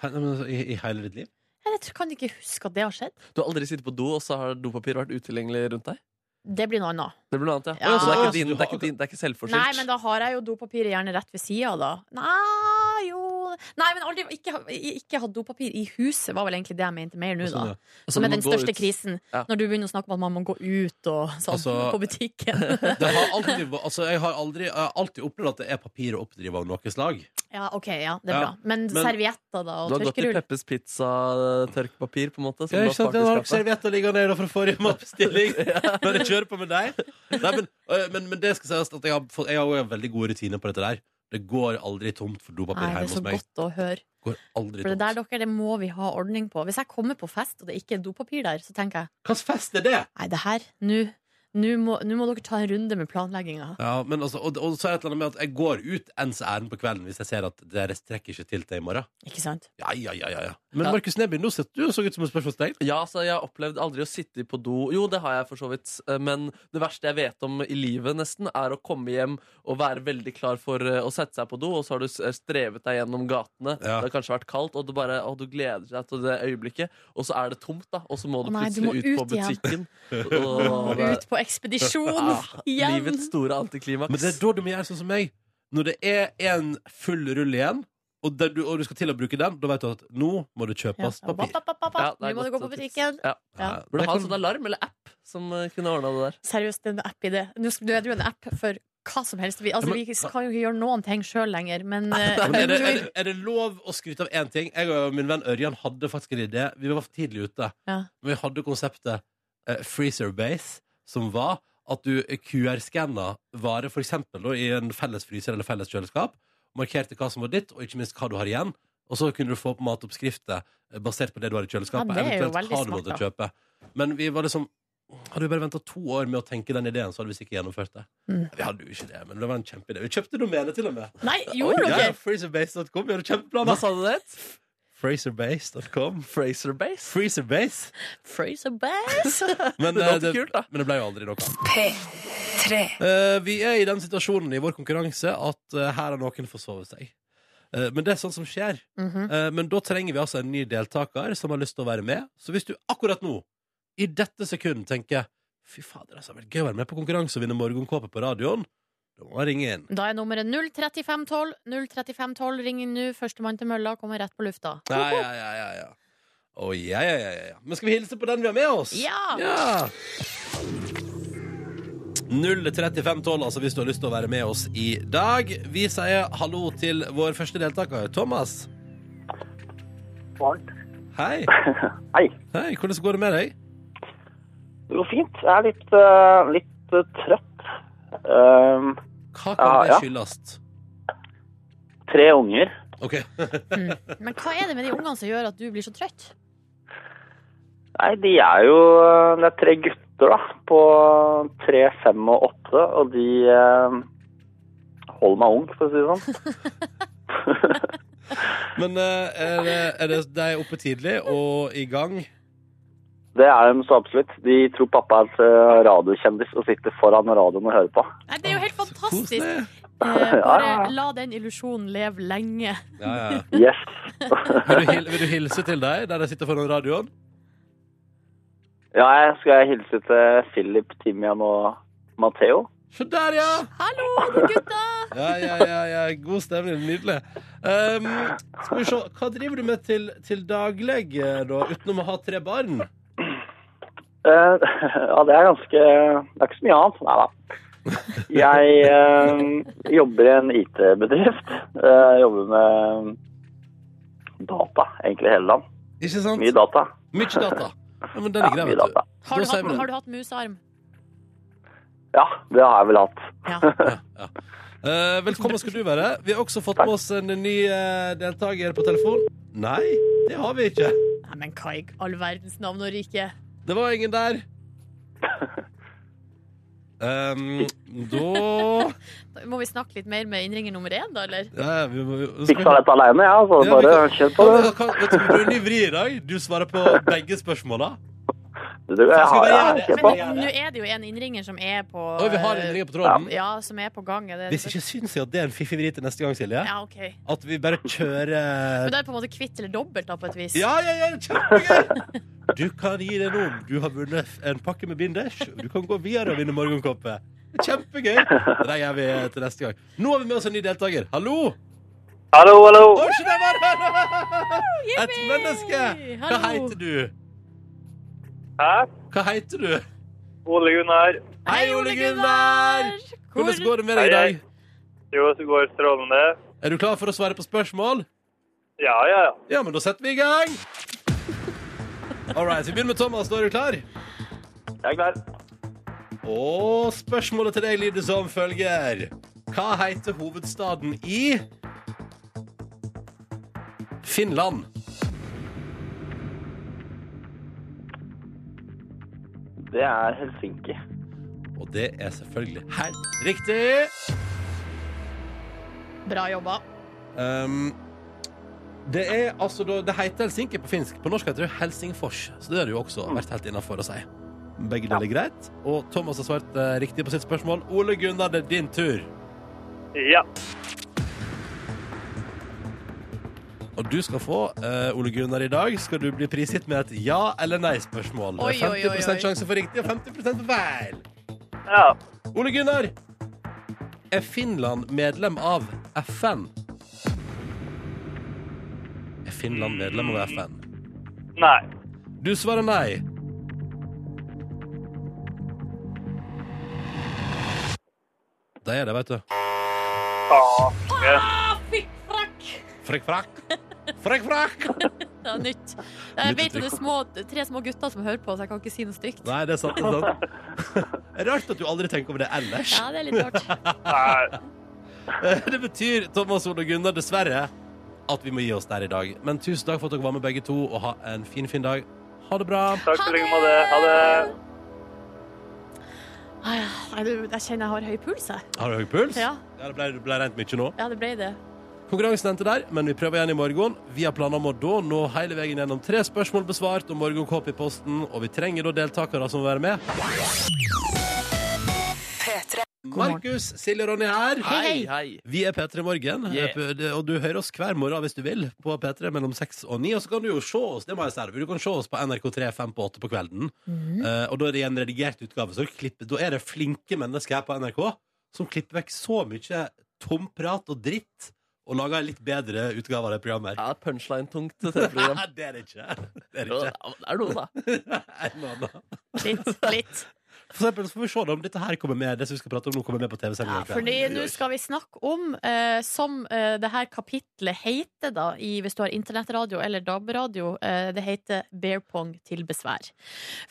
Speaker 1: Nei, men altså, I, I hele ditt liv?
Speaker 2: Jeg tror- kan ikke huske at det har skjedd.
Speaker 3: Du har aldri sittet på do, og så har dopapir vært utilgjengelig rundt deg?
Speaker 2: Det blir noe annet.
Speaker 3: Det blir noe annet, ja.
Speaker 2: Ja.
Speaker 3: Så det
Speaker 1: Ja,
Speaker 3: er ikke,
Speaker 1: så
Speaker 3: din,
Speaker 1: du
Speaker 3: det er
Speaker 1: har-
Speaker 3: ikke, din, det er ikke selvforskyldt.
Speaker 2: Nei, men da har jeg jo dopapiret gjerne rett ved sida, da. Nei, jo Nei, men aldri ikke, ha- ikke hatt dopapir i huset, var vel egentlig det jeg mente mer nå,
Speaker 1: Sånn,
Speaker 2: da.
Speaker 1: ja.
Speaker 3: Altså,
Speaker 2: Som
Speaker 3: du
Speaker 2: er
Speaker 3: må
Speaker 2: den
Speaker 3: gå
Speaker 2: største
Speaker 3: ut.
Speaker 2: krisen.
Speaker 3: Ja.
Speaker 2: Når du begynner å snakke om at man må gå ut og sånn
Speaker 1: Altså-
Speaker 2: på butikken.
Speaker 1: Det har alltid, altså, jeg har aldri, jeg har alltid opplevd at det er papir å oppdrive av noe slag.
Speaker 2: ja, OK, ja, det er
Speaker 1: Ja,
Speaker 2: bra. Men,
Speaker 1: men-
Speaker 2: servietter, da,
Speaker 3: Du
Speaker 2: og
Speaker 3: har gått i
Speaker 2: tørkerull?
Speaker 3: Peppes pizza tørkpapir, på en måte. Som
Speaker 1: Ja,
Speaker 3: du
Speaker 1: ikke sant? Jeg
Speaker 3: spart i
Speaker 1: har
Speaker 3: skapet.
Speaker 1: servietter liggende der fra forrige matbestilling. Når jeg kjører på med deg. Nei, men, øh, men, men det skal sies at jeg har, fått- jeg har jo en veldig god rutine på dette der. Det går aldri tomt for dopapir
Speaker 2: Nei, det
Speaker 1: hjemme
Speaker 2: er så
Speaker 1: hos meg.
Speaker 2: godt å høre.
Speaker 1: Går aldri
Speaker 2: For det der,
Speaker 1: tomt.
Speaker 2: dere, det må vi ha ordning på. Hvis jeg kommer på fest og det ikke er dopapir der, så tenker jeg
Speaker 1: Hvilken fest er det?
Speaker 2: Nei, det her Nå nå må, nå må dere ta en runde med planlegginga.
Speaker 1: Ja, men altså, og, og så er det et eller annet med at jeg går ut ens ærend på kvelden hvis jeg ser at dere strekker ikke til til i morgen.
Speaker 2: Ikke sant?
Speaker 1: Ja, ja, ja, ja, ja. Men
Speaker 3: Ja.
Speaker 1: Markus Neby, nå sitter du og så ut som et spørsmålstegn.
Speaker 3: Ja, altså, jeg har opplevd aldri å sitte på do. Jo, det har jeg for så vidt. eh, Men det verste jeg vet om i livet, nesten, er å komme hjem og være veldig klar for eh, å sette seg på do, og så har du s- eh, strevet deg gjennom gatene.
Speaker 1: Ja.
Speaker 3: Det har kanskje vært kaldt, og du, bare, å, du gleder deg til det øyeblikket. Og så er det tomt, da. Og så må du
Speaker 2: Å nei, du
Speaker 3: plutselig
Speaker 2: må
Speaker 3: ut, på
Speaker 2: ut igjen.
Speaker 3: butikken. Åh, det-
Speaker 2: Ut på ekspedisjon
Speaker 3: Ah,
Speaker 2: igjen!
Speaker 3: Livets store antiklimaks.
Speaker 1: Men det er da du må gjøre sånn som meg. Når det er en full rull igjen, og, det du, og du skal til å bruke den, da vet du at nå må det
Speaker 2: Ja.
Speaker 1: kjøpes
Speaker 2: Ba,
Speaker 1: papir.
Speaker 2: ba, ba, ba, ba.
Speaker 3: Ja, det er
Speaker 2: Nå må du
Speaker 3: godt
Speaker 2: gå på
Speaker 3: tips.
Speaker 2: butikken.
Speaker 3: Ja.
Speaker 2: Ja.
Speaker 1: Ja,
Speaker 3: Burde
Speaker 1: det
Speaker 3: ha en
Speaker 1: kan-
Speaker 3: sånn alarm eller app som eh, kunne ordna det der.
Speaker 2: Seriøst, det er en app i det. Nå skal- nå er det jo en app for hva som helst. Vi, altså,
Speaker 1: Ja, men-
Speaker 2: vi kan jo ikke gjøre noen ting sjøl lenger, men eh,
Speaker 1: Ja, men er, det, er, det- er det lov å skryte av én ting? Jeg og min venn Ørjan hadde faktisk en idé. Vi var for tidlig ute.
Speaker 2: Ja.
Speaker 1: Men vi hadde konseptet eh, freezer base, som var at du QR-skanna varer for eksempel da, i en felles fryser eller felles kjøleskap, markerte hva som var ditt, og ikke minst hva du har igjen. Og så kunne du få opp matoppskrifter eh, basert på det du har i kjøleskapet.
Speaker 2: Ja, det er jo
Speaker 1: eventuelt
Speaker 2: veldig
Speaker 1: hva du
Speaker 2: smart,
Speaker 1: måtte kjøpe. Men vi var liksom hadde vi bare venta to år med å tenke den ideen, så hadde vi sikkert gjennomført det.
Speaker 2: Mm.
Speaker 1: Vi hadde jo ikke det, men det var en kjempeidé. Vi kjøpte domenet, til og med.
Speaker 2: Nei,
Speaker 1: Ja,
Speaker 2: gjorde
Speaker 1: ja,
Speaker 2: dere?
Speaker 1: freezerbase.com gjør
Speaker 3: Hva
Speaker 1: kjempeplaner.
Speaker 3: sa du det het?
Speaker 1: Freezerbase.com.
Speaker 3: Fraser Base?
Speaker 1: Freezerbase.
Speaker 2: Fraser Bass?
Speaker 1: Men,
Speaker 3: Det
Speaker 1: eh,
Speaker 3: låter kult, da.
Speaker 1: men det ble jo aldri noe av. Eh, vi er i den situasjonen i vår konkurranse at eh, her har noen forsovet seg. Eh, men det er sånn som skjer.
Speaker 2: Mhm.
Speaker 1: Eh, men da trenger vi altså en ny deltaker som har lyst til å være med. Så hvis du akkurat nå, i dette sekund, tenker Fy fader, altså, det har vært gøy å være med på konkurranse og vinne morgenkåpe på radioen, da må jeg ringe inn.
Speaker 2: Da er nummeret 03512. 03512, ring inn nå. Førstemann til mølla kommer rett på lufta.
Speaker 1: Ja, ja, ja, ja, ja. Å, ja, ja, ja, ja, ja. Men skal vi hilse på den vi har med oss?
Speaker 2: Ja!
Speaker 1: Ja! 03512, altså, hvis du har lyst til å være med oss i dag. Vi sier hallo til vår første deltaker, Thomas.
Speaker 4: Varmt.
Speaker 1: Hei.
Speaker 4: Hei.
Speaker 1: Hei, hvordan går det med deg?
Speaker 4: Det går fint. Jeg er litt, eh, litt eh, trøtt. Ehm,
Speaker 1: Hva kan
Speaker 4: Ja,
Speaker 1: det
Speaker 4: ja.
Speaker 1: skyldes?
Speaker 4: tre unger.
Speaker 1: OK.
Speaker 2: Men hva er det med de ungene som gjør at du blir så trøtt?
Speaker 4: Nei, de er jo eh, Det er tre gutter, da. På tre, fem og åtte. Og de eh, holder meg ung, for å si det sånn.
Speaker 1: Men eh, er det, er det de er oppe tidlig og i gang?
Speaker 4: Det er de så absolutt. De tror pappa er et eh, radiokjendis og sitter foran radioen og hører på.
Speaker 2: Nei, det er jo helt
Speaker 1: Så
Speaker 2: fantastisk!
Speaker 1: koselig.
Speaker 2: Eh,
Speaker 4: Ja.
Speaker 2: bare la den illusjonen leve lenge.
Speaker 1: Ja, ja.
Speaker 4: Yes.
Speaker 1: Vil, du, hil- vil du hilse til deg der de sitter foran radioen?
Speaker 4: Ja, jeg skal hilse til Philip, Timian og Matheo.
Speaker 1: Se der, ja!
Speaker 2: Hallo, gutta!
Speaker 1: Ja, ja, ja, ja. God stemning. Nydelig. Um, skal vi se. Hva driver du med til, til daglig, eh, da, utenom å ha tre barn?
Speaker 4: Eh, ja, det er ganske Det er ikke så mye annet. Nei da. Jeg eh, jobber i en IT-bedrift. Eh, jobber med data egentlig hele dagen.
Speaker 1: Ikke sant?
Speaker 4: Mye data.
Speaker 1: Sånn Mye data. Ja, men den
Speaker 4: Ja,
Speaker 1: er grei,
Speaker 4: mye
Speaker 1: vet du.
Speaker 4: data.
Speaker 2: Har
Speaker 1: Da
Speaker 2: du,
Speaker 1: sier
Speaker 2: hatt,
Speaker 1: vi det.
Speaker 2: har du hatt musearm?
Speaker 4: Ja, det har jeg vel hatt.
Speaker 2: Ja.
Speaker 1: Eh, velkommen skal du være. Vi har også fått med oss en ny eh, deltaker på telefon. Nei, det har vi ikke.
Speaker 2: Nei, men hva i all verdens navn og rike?
Speaker 1: Det var ingen der. Um, da
Speaker 2: Da Må vi snakke litt mer med innringer nummer én, da, eller?
Speaker 1: ja, vi, vi, vi,
Speaker 4: Fiksa dette alene, ja, så
Speaker 1: Ja, vi
Speaker 4: bare
Speaker 1: kan-
Speaker 4: kjør på
Speaker 1: Ja,
Speaker 4: det.
Speaker 1: men kan- vet du, vi prøver en ny vri i dag. Du svarer på begge spørsmåla.
Speaker 4: Du, jeg har, ja, kjør
Speaker 2: Men
Speaker 4: på.
Speaker 2: nå er det jo en innringer som er på
Speaker 1: Oi, vi har en ring på tråden.
Speaker 2: Ja, som er på gang. Er det,
Speaker 1: Hvis ikke syns jeg at det er en fiffig vri til neste gang, Silje.
Speaker 2: Ja, OK.
Speaker 1: At vi bare
Speaker 2: Men
Speaker 1: kjører
Speaker 2: da er det på en måte kvitt eller dobbelt, da, på et vis.
Speaker 1: Ja, ja, ja, kjempegøy! Du kan gi deg noen. Du har vunnet en pakke med binders. Du kan gå videre og vinne morgenkåpe. Kjempegøy! Det gjør vi eh, til neste gang. Nå har vi med oss en ny deltaker. Hallo!
Speaker 4: Hallo, hallo.
Speaker 1: Oi, se der var det! Et menneske! Hva
Speaker 2: Hallo.
Speaker 1: heter du?
Speaker 4: Hæ?
Speaker 1: Hva heter du?
Speaker 4: Ole Gunnar.
Speaker 1: Hei, Ole Gunnar! Hvordan går det med deg i
Speaker 4: Hei,
Speaker 1: dag?
Speaker 4: Jo, det går strålende.
Speaker 1: Er du klar for å svare på spørsmål?
Speaker 4: Ja, ja, ja.
Speaker 1: Ja, men da setter vi i gang! All right, vi begynner med Thomas. Da er du klar?
Speaker 4: Jeg er klar.
Speaker 1: Og spørsmålet til deg lyder som følger. Hva heter hovedstaden i Finland?
Speaker 4: Det er Helsinki.
Speaker 1: Og det er selvfølgelig helt riktig.
Speaker 2: Bra jobba.
Speaker 1: Um, det er altså da, Det heter Helsinki på finsk. På norsk heter det Helsingfors. Så det har du jo også vært helt innafor å si. Begge deler er greit. Og Thomas har svart eh, riktig på sitt spørsmål. Ole Gunnar, det er din tur.
Speaker 4: Ja.
Speaker 1: Og du skal få, eh, Ole Gunnar, i dag skal du bli prisgitt med et ja- eller nei-spørsmål.
Speaker 2: Oi,
Speaker 1: Det
Speaker 2: oi, oi,
Speaker 1: er 50
Speaker 2: oi.
Speaker 1: sjanse for riktig og 50 for feil.
Speaker 4: Ja.
Speaker 1: Ole Gunnar, er Finland medlem av FN? Er Finland medlem av FN?
Speaker 4: Nei.
Speaker 1: Du svarer nei. Det er det, vet du.
Speaker 4: Fake.
Speaker 1: Frekk frakk. Frekk frakk.
Speaker 2: Det er nytt. Jeg
Speaker 1: Nytt
Speaker 2: vet at det
Speaker 1: uttrykk.
Speaker 2: er små, tre små gutter som hører på, så jeg kan ikke si noe stygt.
Speaker 1: Nei, det er sant. Det er sant. Rart at du aldri tenker over det ellers.
Speaker 2: Ja, det er litt rart.
Speaker 4: Nei.
Speaker 1: Det betyr, Thomas Ole og Gunnar, dessverre at vi må gi oss der i dag. Men tusen takk for at dere var med begge to, og ha en fin, fin dag. Ha det bra.
Speaker 4: Takk for like måte. Ha det.
Speaker 2: Ai, Nei, du, jeg kjenner jeg har høy puls, jeg.
Speaker 1: Har du høy puls?
Speaker 2: Ja,
Speaker 1: Ja, det ble, det ble rent mye nå.
Speaker 2: ja det ble det.
Speaker 1: Konkurransen endte der, men vi prøver igjen i morgen. Vi har planer om å da nå hele veien gjennom tre spørsmål besvart og morgenkåp i posten, og vi trenger da deltakere som vil være med.
Speaker 2: morgen.
Speaker 1: Markus, Silje og Ronny her.
Speaker 2: Hei,
Speaker 1: Vi er P3 Morgen,
Speaker 3: Yeah.
Speaker 1: og du hører oss hver morgen hvis du vil på P3 mellom 6 og 9. Og så kan du jo se oss det må jeg si, du kan se oss på NRK3 5 på 8 på kvelden.
Speaker 2: Mhm.
Speaker 1: Eh, og da er det i en redigert utgave. Så klipper, da er det flinke mennesker her på NRK som klipper vekk så mye tomprat og dritt og lager en litt bedre utgave av det programmet. her.
Speaker 3: Ja, punchline-tungt TV-program.
Speaker 1: det er det ikke. Det er
Speaker 3: Jo,
Speaker 1: det
Speaker 3: Det
Speaker 1: ikke.
Speaker 3: er noe,
Speaker 1: En og
Speaker 3: da.
Speaker 1: annen.
Speaker 2: Litt. litt.
Speaker 1: For eksempel så får vi se da om dette her kommer med, det som vi skal prate om nå, kommer med på TV-sendinga.
Speaker 2: Ja, fordi nå skal vi snakke om, eh, som eh, det her kapitlet heter da, i, hvis du har internettradio eller DAB-radio, eh, det heter Bear Pong til besvær.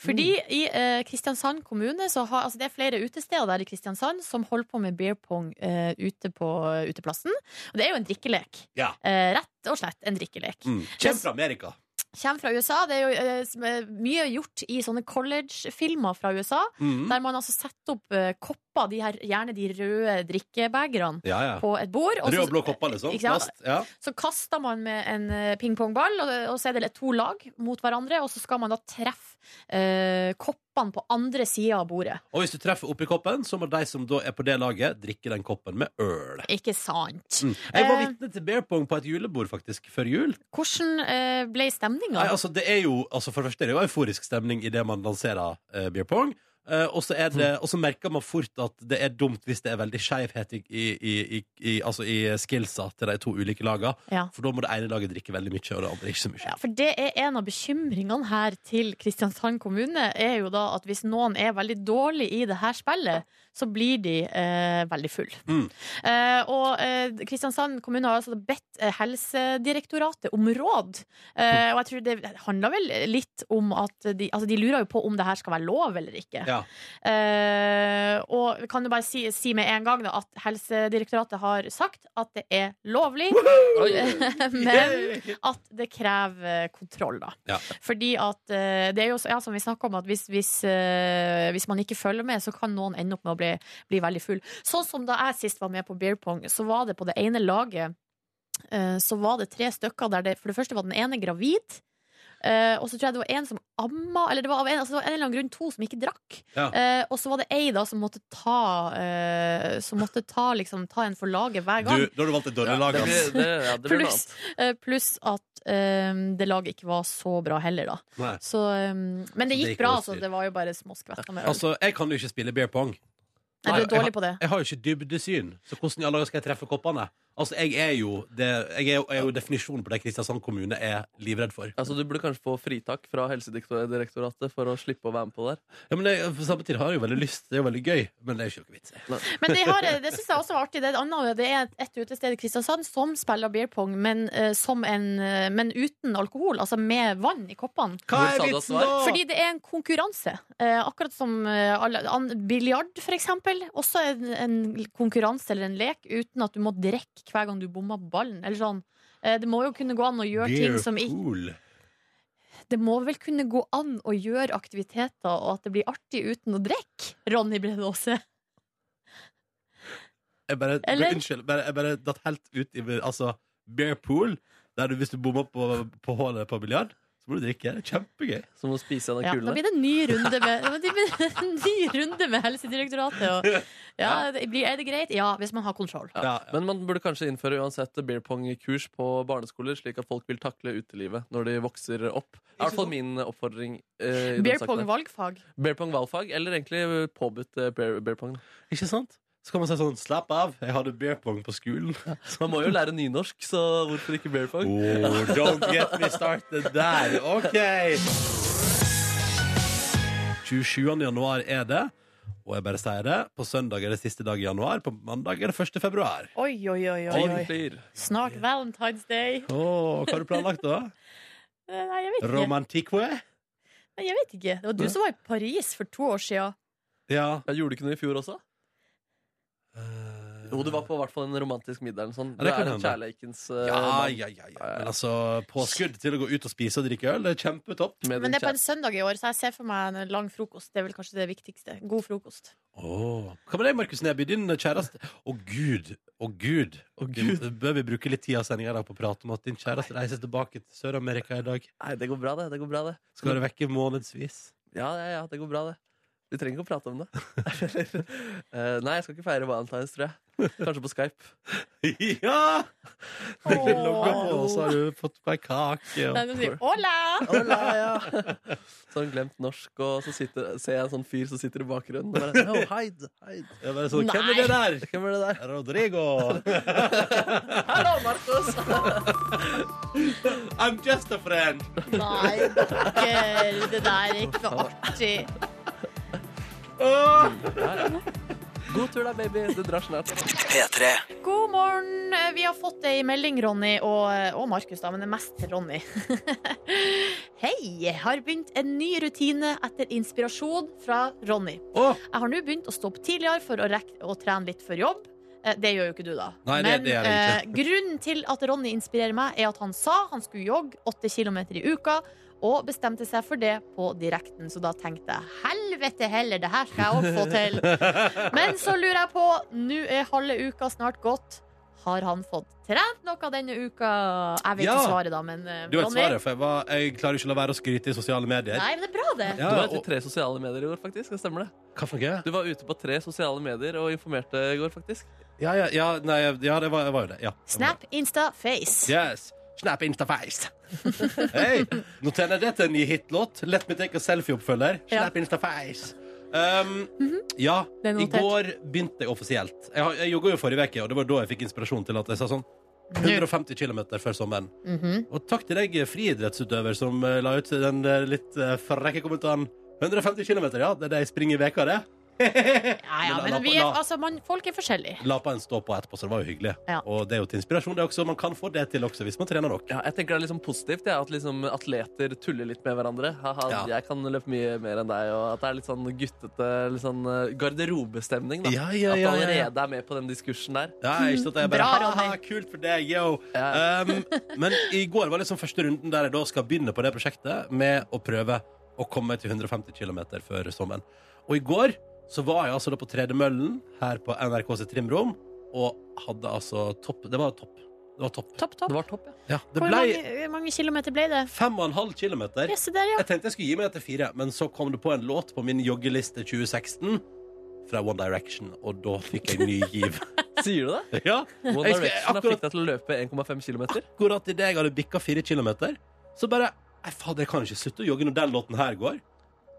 Speaker 2: Fordi
Speaker 1: Mm.
Speaker 2: i eh, Kristiansand kommune, så har, altså det er flere utesteder der i Kristiansand som holder på med Bear Pong eh, ute på eh, uteplassen. Og det er jo en drikkelek.
Speaker 1: Ja.
Speaker 2: Eh, rett og slett en drikkelek.
Speaker 1: mm. Kjem fra Amerika.
Speaker 2: Kjem fra USA. Det er jo eh, som er mye gjort i sånne college-filmer fra USA,
Speaker 1: Mm.
Speaker 2: der man altså setter opp eh, kopper, de her, gjerne de røde drikkebegerne
Speaker 1: Ja, ja.
Speaker 2: på et bord. og
Speaker 1: Rød
Speaker 2: så-
Speaker 1: og blå kopper, liksom.
Speaker 2: Ikke sant?
Speaker 1: Plast. Ja.
Speaker 2: Så kaster man med en eh, pingpongball, og, og så er det to lag mot hverandre, og så skal man da treffe eh, koppene på andre sida av bordet.
Speaker 1: Og hvis du treffer oppi koppen, så må de som da er på det laget, drikke den koppen med øl.
Speaker 2: Ikke sant?
Speaker 1: Mm. Jeg var
Speaker 2: Eh.
Speaker 1: vitne til beer pong på et julebord faktisk før jul.
Speaker 2: Hvordan eh, ble
Speaker 1: Nei,
Speaker 2: stemninga?
Speaker 1: altså, det er jo, altså For det første er det jo euforisk stemning idet man lanserer eh, beer pong. Eh, og så er
Speaker 2: Mm.
Speaker 1: det- og så merker man fort at det er dumt hvis det er veldig skeivhet i, i, i, i, altså i skillsa til de to ulike lagene.
Speaker 2: Ja.
Speaker 1: For da må det ene laget drikke veldig mye, og det andre ikke så mye.
Speaker 2: Ja, for det er en av bekymringene her til Kristiansand kommune, er jo da at hvis noen er veldig dårlig i det her spillet, så blir de eh, veldig full.
Speaker 1: Mm.
Speaker 2: Eh, og eh, Kristiansand kommune har altså bedt eh, Helsedirektoratet om råd. Eh, og jeg tror det handler vel litt om at de, altså de lurer jo på om det her skal være lov eller ikke.
Speaker 1: Ja.
Speaker 2: Eh, og vi kan jo bare si, si med en gang da, at Helsedirektoratet har sagt at det er lovlig, men at det krever eh, kontroll, da.
Speaker 1: Ja.
Speaker 2: Fordi at eh, det er jo så- ja, som vi snakket om, at hvis, hvis, eh, hvis man ikke følger med, så kan noen ende opp med å bli, bli veldig full. Sånn som da jeg sist var med på beer pong, så var det på det ene laget eh, så var det tre stykker der det For det første var den ene gravid. eh, og så tror jeg det var en som amma Eller det var av en, altså det var en eller annen grunn to som ikke drakk.
Speaker 1: Ja.
Speaker 2: Eh, og så var det ei da som måtte ta eh, Som måtte ta, liksom, ta en for laget hver gang.
Speaker 1: Du, da har du valgt et dårlig lag,
Speaker 3: det blir,
Speaker 1: ass.
Speaker 3: det, ja, det blir noe
Speaker 2: Pluss,
Speaker 3: annet.
Speaker 2: eh, pluss at eh, det laget ikke var så bra heller, da.
Speaker 1: Nei.
Speaker 2: Så, eh, men det
Speaker 1: Det
Speaker 2: gikk
Speaker 1: gikk
Speaker 2: bra,
Speaker 1: over
Speaker 2: altså.
Speaker 1: styr.
Speaker 2: Det var jo bare småskvetter med øl.
Speaker 1: Altså, jeg kan jo ikke spille beer pong.
Speaker 2: Nei, du
Speaker 1: jeg-
Speaker 2: er dårlig på det.
Speaker 1: Jeg har jo ikke dybdesyn, så hvordan i alle dager skal jeg treffe koppene? Altså, jeg er jo, det, jeg er jo, jeg er jo definisjonen på det Kristiansand kommune er livredd for.
Speaker 3: Altså, du burde kanskje få fritak fra Helsedirektoratet for å slippe å være med på der.
Speaker 1: Ja, men jeg, for Samtidig har jeg jo veldig lyst, det er jo veldig gøy, men det er jo ikke noe vits. i.
Speaker 2: Men de har, eh, det syns jeg også var artig. Det er, et annet, det er et- et utested i Kristiansand som spiller beer pong, men, eh, som en, eh, men uten alkohol. Altså med vann i koppene.
Speaker 1: Hva
Speaker 3: Hvor sa
Speaker 1: er
Speaker 3: du at
Speaker 1: vitsen
Speaker 3: det
Speaker 1: da?
Speaker 2: Fordi det er en konkurranse. Eh, akkurat som eh, alle- an- biljard, for eksempel. Også en, en konkurranse eller en lek uten at du må drikke hver gang du bommer på ballen. Eller sånn. Eh, det må jo kunne gå an å gjøre ting som ikke
Speaker 1: pool.
Speaker 2: Det må vel kunne gå an å gjøre aktiviteter, og at det blir artig uten å drikke, Ronny Bredåse.
Speaker 1: Jeg bare,
Speaker 2: Eller?
Speaker 1: Unnskyld, bare, jeg bare datt helt ut i altså, beer pool. Der du, hvis du bommer på, på hullet på biljard, så må du drikke. Det er kjempegøy.
Speaker 3: Som å spise en
Speaker 2: Ja, da
Speaker 3: kule.
Speaker 2: blir det en ny runde med, da blir det en ny runde med Helsedirektoratet. Og, ja, det blir, er det greit? Ja, hvis man har kontroll.
Speaker 3: Ja.
Speaker 1: Ja, ja.
Speaker 3: Men man burde kanskje innføre uansett beer pong-kurs på barneskoler, slik at folk vil takle utelivet når de vokser opp. Det er i hvert fall min oppfordring. Eh, i den
Speaker 2: Beer
Speaker 3: saken
Speaker 2: pong
Speaker 3: her.
Speaker 2: valgfag.
Speaker 3: beer pong valgfag, eller egentlig påbudt eh, beer, beer pong. da.
Speaker 1: Ikke sant? Så kan man si sånn Slapp av, jeg hadde beer pong på skolen.
Speaker 3: Man må jo lære nynorsk, så hvorfor ikke beer pong?
Speaker 1: Oh, don't get me started der. OK. 27. januar er det. Og jeg bare sier det. På søndag er det siste dag i januar. På mandag er det 1. februar.
Speaker 2: Oi, oi, oi. oi, oi.
Speaker 3: Ordentlig.
Speaker 2: Snart Valentine's Day.
Speaker 1: Åh, hva har du planlagt, da?
Speaker 2: Eh, Nei, jeg vet ikke.
Speaker 1: Romantique?
Speaker 2: Nei, jeg vet ikke. Det var du som var i Paris for to år siden.
Speaker 1: Ja.
Speaker 3: Jeg gjorde du ikke noe i fjor også? Jo, du var på hvert fall en romantisk middag eller noe sånt.
Speaker 1: Ja,
Speaker 3: Du
Speaker 1: det kan
Speaker 3: er en
Speaker 1: hende.
Speaker 3: kjærleikens eh,
Speaker 1: Ja,
Speaker 3: mann
Speaker 1: ja, ja, ja. Men altså, påskudd til å gå ut og spise og drikke øl, det er kjempetopp.
Speaker 3: med
Speaker 2: Men
Speaker 3: din
Speaker 2: det er på en
Speaker 3: kjære.
Speaker 2: søndag i år, så jeg ser for meg en lang frokost. Det er vel kanskje det viktigste. God frokost.
Speaker 1: Åh. Hva med deg, Markus Neby, din kjæreste? Å, gud. Å, gud.
Speaker 3: Å, Gud.
Speaker 1: Vi- Bør vi bruke litt tid av sendinga på å prate om at din kjæreste reiser tilbake til Sør-Amerika i dag?
Speaker 3: Nei, det går bra, det. det, går bra, det.
Speaker 1: Skal være vekke månedsvis.
Speaker 3: Ja, ja, ja, det går bra, det. Vi trenger ikke å prate om det. Eh, nei, jeg skal ikke feire Valentine's, tror jeg. Kanskje på Skype.
Speaker 1: ja! Det er ikke logga på, altså. og så har du fått på ei kake.
Speaker 2: Nei,
Speaker 1: Og...
Speaker 2: du sier hola!
Speaker 3: Sånn glemt norsk, og så sitter, ser jeg en sånn fyr som sitter i bakgrunnen. Og bare, no, hide, hide.
Speaker 1: Jeg bare sånn,
Speaker 2: Nei.
Speaker 1: Hvem er det der?
Speaker 3: Hvem er det der?
Speaker 1: Rodrigo.
Speaker 3: Hallo, Markus!
Speaker 1: I'm just a friend.
Speaker 2: Nei, dere. Det der er ikke noe artig.
Speaker 3: God tur da, baby. Du drar snart.
Speaker 2: God morgen. Vi har fått ei melding, Ronny og, og Markus, da, men det er mest til Ronny. Hei! Har begynt en ny rutine etter inspirasjon fra Ronny.
Speaker 1: Åh.
Speaker 2: Jeg har nå begynt å stoppe tidligere for å rekke å trene litt før jobb. Eh, Det gjør jo ikke du, da.
Speaker 1: Nei, det-
Speaker 2: Men
Speaker 1: det gjør jeg
Speaker 2: eh, grunnen til at Ronny inspirerer meg, er at han sa han skulle jogge åtte kilometer i uka. Og bestemte seg for det på direkten, så da tenkte jeg helvete heller, det her skal jeg òg få til. Men så lurer jeg på, nå er halve uka snart gått. Har han fått trent noe denne uka? Jeg vet
Speaker 1: Ja.
Speaker 2: ikke svaret, da, men eh,
Speaker 1: Du vet
Speaker 2: Ronny?
Speaker 1: svaret, for jeg, var, jeg klarer ikke å la være å skryte i sosiale medier.
Speaker 2: Nei, men det er bra, det.
Speaker 1: Ja,
Speaker 3: Du var ute i
Speaker 1: og,
Speaker 3: tre sosiale medier i går, faktisk. Det stemmer det.
Speaker 1: hva for noe?
Speaker 3: Du var ute på tre sosiale medier og informerte i går, faktisk.
Speaker 1: Ja, ja, ja, nei, ja det var, var jo det. Ja.
Speaker 2: Snap, Insta, Face.
Speaker 1: Yes. Snap Instaface. Hei, nå tjener jeg det til en ny hitlåt. Let me take a selfie-oppfølger.
Speaker 2: Ja.
Speaker 1: Snap Instaface. Um, Ja,
Speaker 2: Det er
Speaker 1: i
Speaker 2: notert.
Speaker 1: går begynte jeg offisielt. Jeg, har- jeg jogga jo forrige uke, og det var da jeg fikk inspirasjon til at jeg sa sånn 150 km før sommeren.
Speaker 5: Mhm.
Speaker 1: Og takk til deg, friidrettsutøver, som eh, la ut den eh, litt eh, frekke kommentaren. 150 km, ja. Det er det jeg springer i veka, det.
Speaker 2: Ja, ja,
Speaker 1: Men la-
Speaker 2: men vi er,
Speaker 1: la-
Speaker 2: altså, man, folk er forskjellige.
Speaker 1: La på en stå på etterpå, så det var jo hyggelig.
Speaker 2: Ja.
Speaker 1: Og det er jo til inspirasjon, det også. Man kan få det til også, hvis man trener nok.
Speaker 3: Ja, jeg tenker det er liksom positivt ja, at liksom atleter tuller litt med hverandre. Haha,
Speaker 1: Ja.
Speaker 3: Jeg kan løpe mye mer enn deg. Og at det er litt sånn guttete litt sånn eh, garderobestemning. Da.
Speaker 1: Ja, ja,
Speaker 3: At du
Speaker 1: ja, ja, ja.
Speaker 3: allerede er med på den diskursen der.
Speaker 1: Ja, ikke sant? Jeg bare,
Speaker 2: Bra, Ronny.
Speaker 1: haha, kult for deg, yo!
Speaker 3: Ja.
Speaker 1: Um, men i går var liksom første runden der jeg da skal begynne på det prosjektet med å prøve å komme meg til 150 km før sommeren. Og i går så var jeg altså da på tredemøllen her på NRKs trimrom og hadde altså topp. Det var topp. Det var topp.
Speaker 2: Topp, topp.
Speaker 3: Det var topp, ja.
Speaker 1: Ja, det
Speaker 2: Hvor
Speaker 1: ble
Speaker 2: mange, hvor mange kilometer ble det?
Speaker 1: fem og en halv kilometer.
Speaker 2: Yes, der, ja.
Speaker 1: Jeg tenkte jeg skulle gi meg etter fire, men så kom det på en låt på min joggeliste 2016 fra One Direction, og da fikk jeg ny giv.
Speaker 3: Sier du det?
Speaker 1: ja,
Speaker 3: One
Speaker 1: Jeg skal-
Speaker 3: Direction
Speaker 1: akkurat-
Speaker 3: har
Speaker 1: Ah,
Speaker 3: fikk deg til å løpe 1,5 km.
Speaker 1: akkurat idet jeg hadde bikka fire kilometer, så bare Nei, fader, jeg kan ikke slutte å jogge når den låten her går.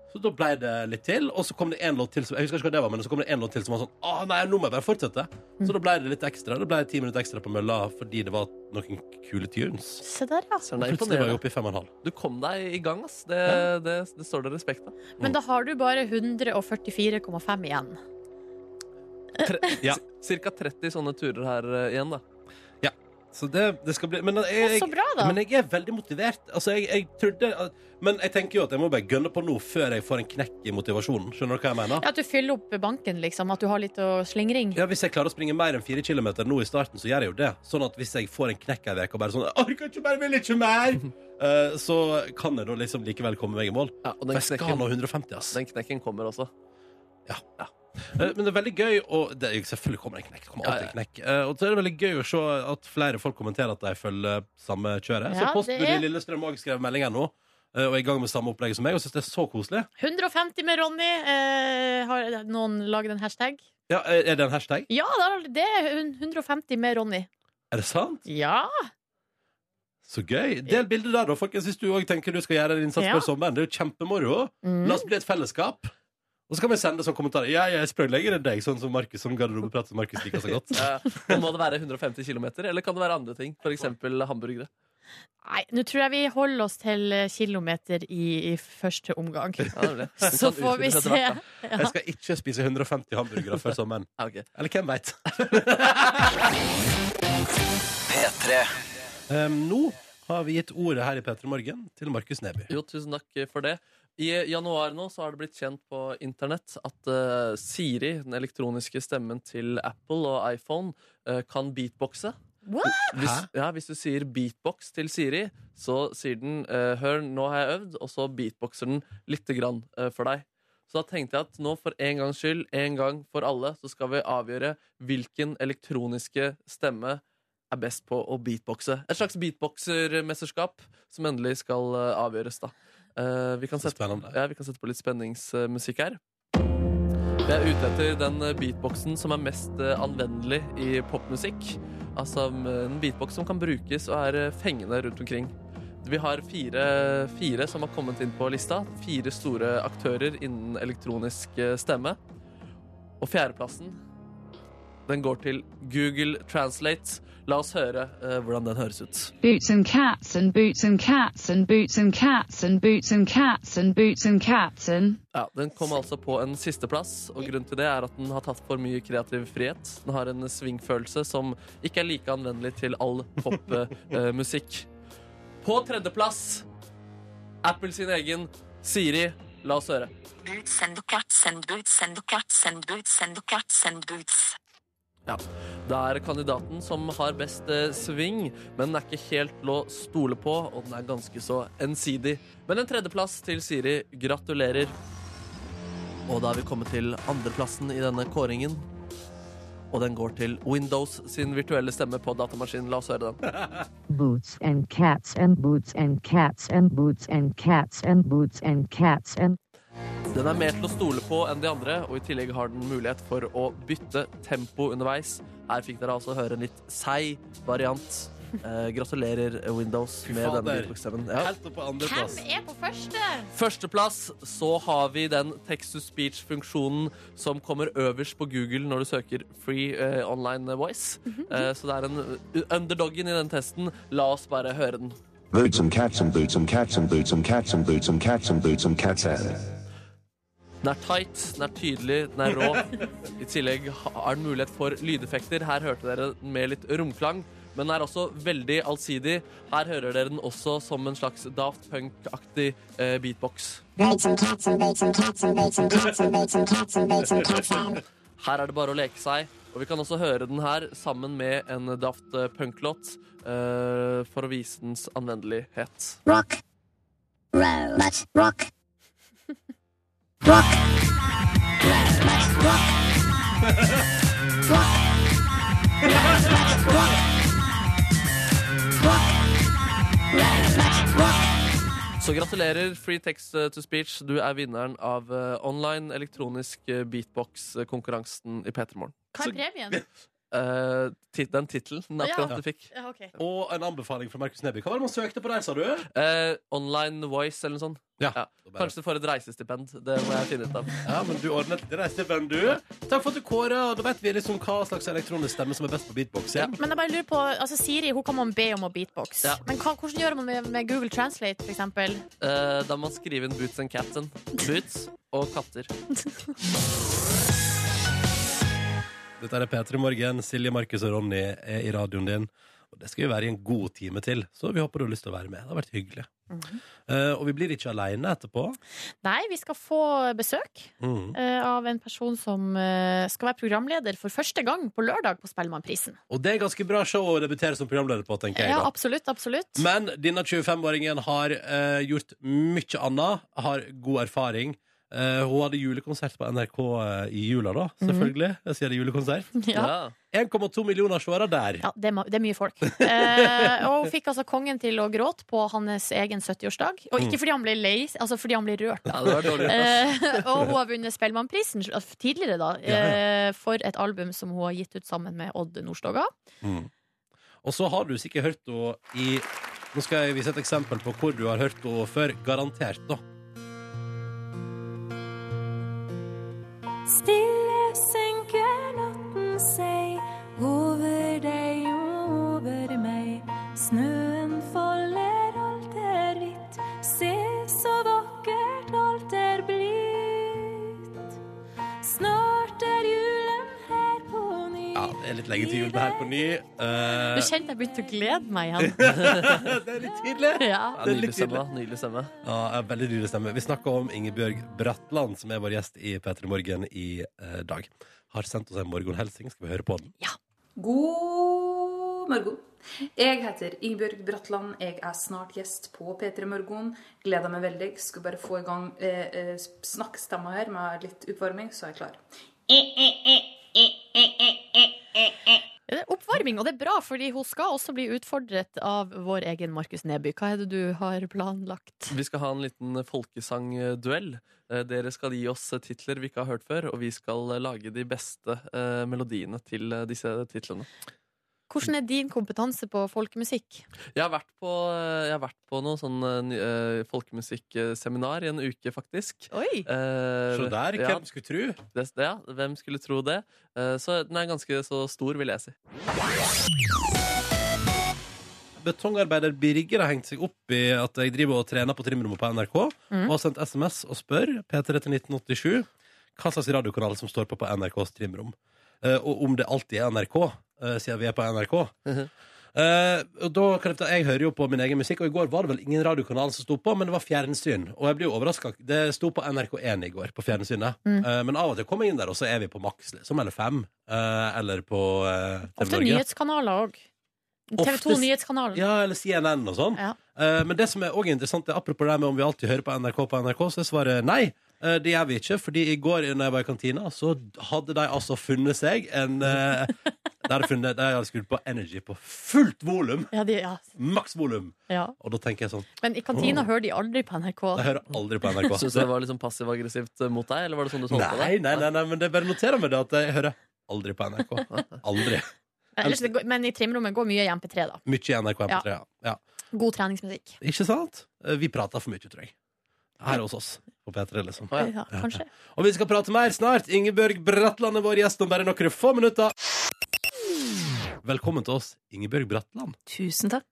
Speaker 1: Så da ble det litt til, og så kom det en låt til som Jeg husker ikke hva det var, men så kom det en låt til som var sånn Å, nei, nå må jeg bare fortsette. Så da ble det litt ekstra. Det ble ti minutter ekstra på mølla fordi det var noen kule tunes.
Speaker 2: Se der, ja.
Speaker 3: Søren, det
Speaker 1: Plutselig var jeg
Speaker 3: er imponerende.
Speaker 1: oppe i fem og en halv.
Speaker 3: Du kom deg i gang, ass. Det,
Speaker 1: Ja.
Speaker 3: det, det står det respekt av.
Speaker 2: Men da har du bare 144,5 igjen.
Speaker 1: Ja.
Speaker 3: Cirka 30 sånne turer her eh, igjen, da.
Speaker 1: Så det, det skal bli Men jeg,
Speaker 2: Så bra, da.
Speaker 1: Men jeg er veldig motivert. Altså, jeg, jeg trodde at- Men jeg tenker jo at jeg må bare gønne på nå før jeg får en knekk i motivasjonen. Skjønner du hva jeg mener?
Speaker 2: Ja, At du fyller opp banken, liksom. At du har litt å slingring.
Speaker 1: Ja, Hvis jeg klarer å springe mer enn fire kilometer nå i starten, så gjør jeg jo det. Sånn at hvis jeg får en knekk ei uke og bare sånn «Jeg orker ikke mer, vil ikke mer, eh, så kan jeg da liksom likevel komme meg i mål.
Speaker 3: Ja, og
Speaker 1: For
Speaker 3: den
Speaker 1: jeg skal nå
Speaker 3: knekken,
Speaker 1: 150, ass.
Speaker 3: den knekken kommer også.
Speaker 1: Eh, Men det er veldig gøy og det, er- Selvfølgelig kommer det en knekk. Det kommer alltid en knekk. Eh, Og så er det veldig gøy å se at flere folk kommenterer at de følger samme kjøret.
Speaker 2: Ja,
Speaker 1: så Postbud
Speaker 2: det er-
Speaker 1: i Lillestrøm òg skrev melding her nå. eh, Og er i gang med samme opplegg som meg, og syns det er så koselig.
Speaker 2: 150 med Ronny. Eh, har noen laget en hashtag?
Speaker 1: Ja, eh, Er er det en hashtag?
Speaker 2: Ja, da- det er 150 med Ronny.
Speaker 1: Er det sant?
Speaker 2: Ja!
Speaker 1: Så gøy. Del bildet der, da, folkens, hvis du òg tenker du skal gjøre en innsats
Speaker 2: Ja.
Speaker 1: for sommeren. Det er jo kjempemoro. La
Speaker 2: Mm.
Speaker 1: oss bli et fellesskap. Og så kan vi sende sånn kommentarer. Ja, jeg sprøytlegger deg, sånn som Markus som garderobeprat som Markus liker så godt.
Speaker 3: Eh, men må det være 150 km, eller kan det være andre ting? F.eks. hamburgere.
Speaker 2: Nei, nå tror jeg vi holder oss til eh, kilometer i, i første omgang.
Speaker 3: Ja, nemlig. Den kan
Speaker 2: Så får vi
Speaker 3: utvides etter
Speaker 2: se.
Speaker 3: hvert, da.
Speaker 1: Jeg skal ikke spise 150 hamburgere før sommeren.
Speaker 3: Ja, ok.
Speaker 1: Eller hvem veit? Um, nå har vi gitt ordet her i P3 Morgen til Markus Neby.
Speaker 3: Jo, tusen takk for det. I januar nå så har det blitt kjent på internett at eh, Siri, den elektroniske stemmen til Apple og iPhone, eh, kan beatboxe.
Speaker 2: What?
Speaker 3: Hvis,
Speaker 1: Hæ?
Speaker 3: ja, hvis du sier beatbox til Siri, så sier den eh, 'hør, nå har jeg øvd', og så beatboxer den lite grann eh, for deg. Så da tenkte jeg at nå for en gangs skyld, en gang for alle, så skal vi avgjøre hvilken elektroniske stemme er best på å beatboxe. Et slags beatboxermesterskap som endelig skal eh, avgjøres, da. Eh, vi, kan
Speaker 1: Så
Speaker 3: sette,
Speaker 1: spennende.
Speaker 3: ja, vi kan sette på litt spenningsmusikk her. Vi er ute etter den eh, beatboxen som er mest eh, anvendelig i popmusikk. Altså m- en beatbox som kan brukes og er eh, fengende rundt omkring. Vi har fire, fire som har kommet inn på lista. Fire store aktører innen elektronisk eh, stemme. Og fjerdeplassen, den går til Google Translate. La oss høre eh, hvordan den høres ut.
Speaker 6: Boots and cats and boots and cats and boots and cats and boots and cats and boots and cats and.
Speaker 3: Ja, Den kom altså på en sisteplass, og grunnen til det er at den har tatt for mye kreativ frihet. Den har en svingfølelse som ikke er like anvendelig til all popmusikk. På tredjeplass Apple sin egen Siri. La oss høre.
Speaker 7: Boots and cats and boots and cats and boots and cats and boots.
Speaker 3: Ja. Det er kandidaten som har best eh, sving, men den er ikke helt til å stole på, og den er ganske så ensidig. Men en tredjeplass til Siri. Gratulerer. Og da er vi kommet til andreplassen i denne kåringen. Og den går til Windows sin virtuelle stemme på datamaskinen. La oss høre den.
Speaker 8: boots and cats and boots and cats and boots and cats and boots and cats and
Speaker 3: Den er mer til å stole på enn de andre, og i tillegg har den mulighet for å bytte tempo underveis. Her fikk dere altså høre en litt seig variant. Eh, gratulerer, Windows,
Speaker 1: Fy
Speaker 3: med
Speaker 1: fader.
Speaker 3: denne Beatbox-stemmen. Ja.
Speaker 1: Helt opp på andreplass.
Speaker 2: Hvem er på første?
Speaker 3: Førsteplass så har vi den text-to-speech-funksjonen som kommer øverst på Google når du søker free eh, online voice. Eh, så det er en uh, underdoggen i den testen. La oss bare høre den.
Speaker 5: Boots and cats and boots and cats and boots and cats and boots and cats and boots and cats and.
Speaker 3: Den er tight, den er tydelig, den er rå. I tillegg har den mulighet for lydeffekter. Her hørte dere den med litt romklang. Men den er også veldig allsidig. Her hører dere den også som en slags Daft Punk-aktig eh, beatbox. Her er det bare å leke seg. Og vi kan også høre den her sammen med en Daft Punk-låt eh, for å vise dens anvendelighet.
Speaker 9: Rock. Robot. Rock. Rock. Robot. Rock. Rock. Robot. Rock. Rock. Robot. Rock.
Speaker 3: Så gratulerer, Free Text eh, to Speech. Du er vinneren av eh, online elektronisk eh, beatbox-konkurransen i P3 Morgen.
Speaker 2: Hva er premien?
Speaker 3: Eh, tit- den tittelen den
Speaker 2: Ja.
Speaker 3: akkurat du fikk.
Speaker 2: Ja, ok.
Speaker 1: Og en anbefaling fra Markus Neby. Hva var det man søkte på der, sa du?
Speaker 3: Eh, online Voice eller noe sånt.
Speaker 1: Ja.
Speaker 3: Kanskje du får et reisestipend. Det må jeg finne ut av.
Speaker 1: Ja, men du ordnet reisestipend, du. Takk for at du kåra. Da vet vi liksom hva slags elektronisk stemme som er best på beatboxing.
Speaker 2: Men jeg bare lurer på, altså Siri hun kan man be om å beatbox.
Speaker 3: Ja.
Speaker 2: Men hva, hvordan gjør man med, med Google Translate, for eksempel?
Speaker 3: Eh, da må man skrive inn Boots and Catten. Boots og katter.
Speaker 1: Dette er P3 Morgen. Silje, Markus og Ronny er i radioen din. Og det skal vi være i en god time til, så vi håper du har lyst til å være med. Det har vært hyggelig.
Speaker 2: Mhm.
Speaker 1: Eh, og vi blir ikke aleine etterpå.
Speaker 2: Nei, vi skal få besøk
Speaker 1: Mhm.
Speaker 2: eh, av en person som eh, skal være programleder for første gang på lørdag på Spellemannprisen.
Speaker 1: Og det er ganske bra show å debutere som programleder på, tenker jeg.
Speaker 2: Ja,
Speaker 1: da.
Speaker 2: absolutt, absolutt.
Speaker 1: Men denne 25-åringen har eh, gjort mye annet, har god erfaring. Eh, hun hadde julekonsert på NRK eh, i jula, da, selvfølgelig. Jeg sier det er julekonsert.
Speaker 2: Ja.
Speaker 3: Ja.
Speaker 1: 1,2 millioner seere der.
Speaker 2: Ja, det er, ma- det er mye folk. Eh, og hun fikk altså kongen til å gråte på hans egen 70-årsdag. Og ikke fordi han ble lei, altså fordi han ble rørt.
Speaker 3: ja, det var dårlig.
Speaker 2: Eh, og hun har vunnet Spellemannprisen sl- tidligere, da, eh, for et album som hun har gitt ut sammen med Odd Nordstoga.
Speaker 1: Og så har du sikkert hørt henne i Nå skal jeg vise et eksempel på hvor du har hørt henne før. Garantert, da.
Speaker 9: Stille senker natten seg over deg og over meg. Snøen folder, alt er hvitt. Se så vakkert alt er blitt. Snart er julen her på ny.
Speaker 1: Ja, Det er litt lenge til jul det her på ny. Eh,
Speaker 2: Nå kjente jeg begynte å glede meg igjen.
Speaker 1: det er litt tidlig!
Speaker 2: Ja.
Speaker 1: det
Speaker 3: Ja,
Speaker 1: er litt
Speaker 3: nydelig stemme. Nydelig stemme.
Speaker 1: Ja, jeg har veldig dyre stemme. Vi snakker om Ingebjørg Bratland, som er vår gjest i P3 Morgen i eh, dag. Har sendt oss en morgenhelsing. Skal vi høre på den?
Speaker 10: God morgen. Jeg heter Ingebjørg Bratland. Jeg er snart gjest på P3 Morgen. Gleder meg veldig. Skulle bare få i gang eh, eh, snakkestemma her med litt oppvarming, så er jeg klar.
Speaker 2: Det er oppvarming, og det er bra, fordi hun skal også bli utfordret av vår egen Markus Neby. Hva er det du har planlagt?
Speaker 3: Vi skal ha en liten folkesangduell. Eh, Dere skal gi oss titler vi ikke har hørt før, og vi skal eh, lage de beste eh, melodiene til eh, disse titlene.
Speaker 2: Hvordan er din kompetanse på folkemusikk?
Speaker 3: Jeg har vært på, eh, jeg har vært på noe sånn eh, ny- eh, folkemusikkseminar i en uke, faktisk.
Speaker 2: Oi!
Speaker 3: Eh,
Speaker 1: Se der,
Speaker 3: ja,
Speaker 1: hvem skulle tro?
Speaker 3: det, ja, hvem skulle tro det? Eh, så den er ganske så stor, vil jeg si.
Speaker 1: Betongarbeider Birger har hengt seg opp i at jeg driver og trener på trimrommet på NRK,
Speaker 3: Mm.
Speaker 1: og har sendt SMS og spør P3 til 1987 hva slags radiokanal som står på på NRKs trimrom. Eh, og om det alltid er NRK, eh, siden vi er på NRK.
Speaker 3: Mhm.
Speaker 1: Eh, og da kan jeg, ta- jeg hører jo på min egen musikk, og i går var det vel ingen radiokanal som sto på, men det var fjernsyn. Og jeg blir jo overraska. Det sto på NRK1 i går, på fjernsynet.
Speaker 3: Mm.
Speaker 1: Eh, men av og til kommer jeg inn der, og så er vi på maks, liksom. Eller fem. eh, eller på eh, TV
Speaker 2: Ofte
Speaker 1: Norge.
Speaker 2: nyhetskanaler òg. TV 2
Speaker 1: Oftest-
Speaker 2: Nyhetskanalen.
Speaker 1: Ja, eller CNN og sånn.
Speaker 2: Ja.
Speaker 1: Eh, men det som er også interessant, det er apropos det med om vi alltid hører på NRK på NRK, så er svaret nei. eh, det gjør vi ikke, fordi i går når jeg var i kantina, så hadde de altså funnet seg en eh, De hadde funnet, de hadde skrudd på Energy på fullt volum.
Speaker 2: Ja, de, ja.
Speaker 1: Maksvolum.
Speaker 2: ja.
Speaker 1: Og da tenker jeg sånn
Speaker 2: Men i kantina hører de aldri på NRK. Eh,
Speaker 1: Jeg hører aldri på NRK.
Speaker 3: Syns du det var liksom passiv-aggressivt eh, mot deg? Eller var det sånn du så på
Speaker 1: nei,
Speaker 3: det?
Speaker 1: nei, nei, nei, men det bare noterer meg det at jeg hører aldri på NRK. Aldri.
Speaker 2: Ellers, det går, men i trimrommet går mye i MP3, da.
Speaker 1: Mye i NRK MP3. Ja. Ja.
Speaker 2: God treningsmusikk.
Speaker 1: Ikke sant? Eh, Vi prater for mye, tror jeg. Her hos oss. På P3, liksom.
Speaker 2: Ja, kanskje.
Speaker 1: Og vi skal prate mer snart. Ingebjørg Bratland er vår gjest om bare noen få minutter. Velkommen til oss, Ingebjørg Bratland.
Speaker 11: Tusen takk.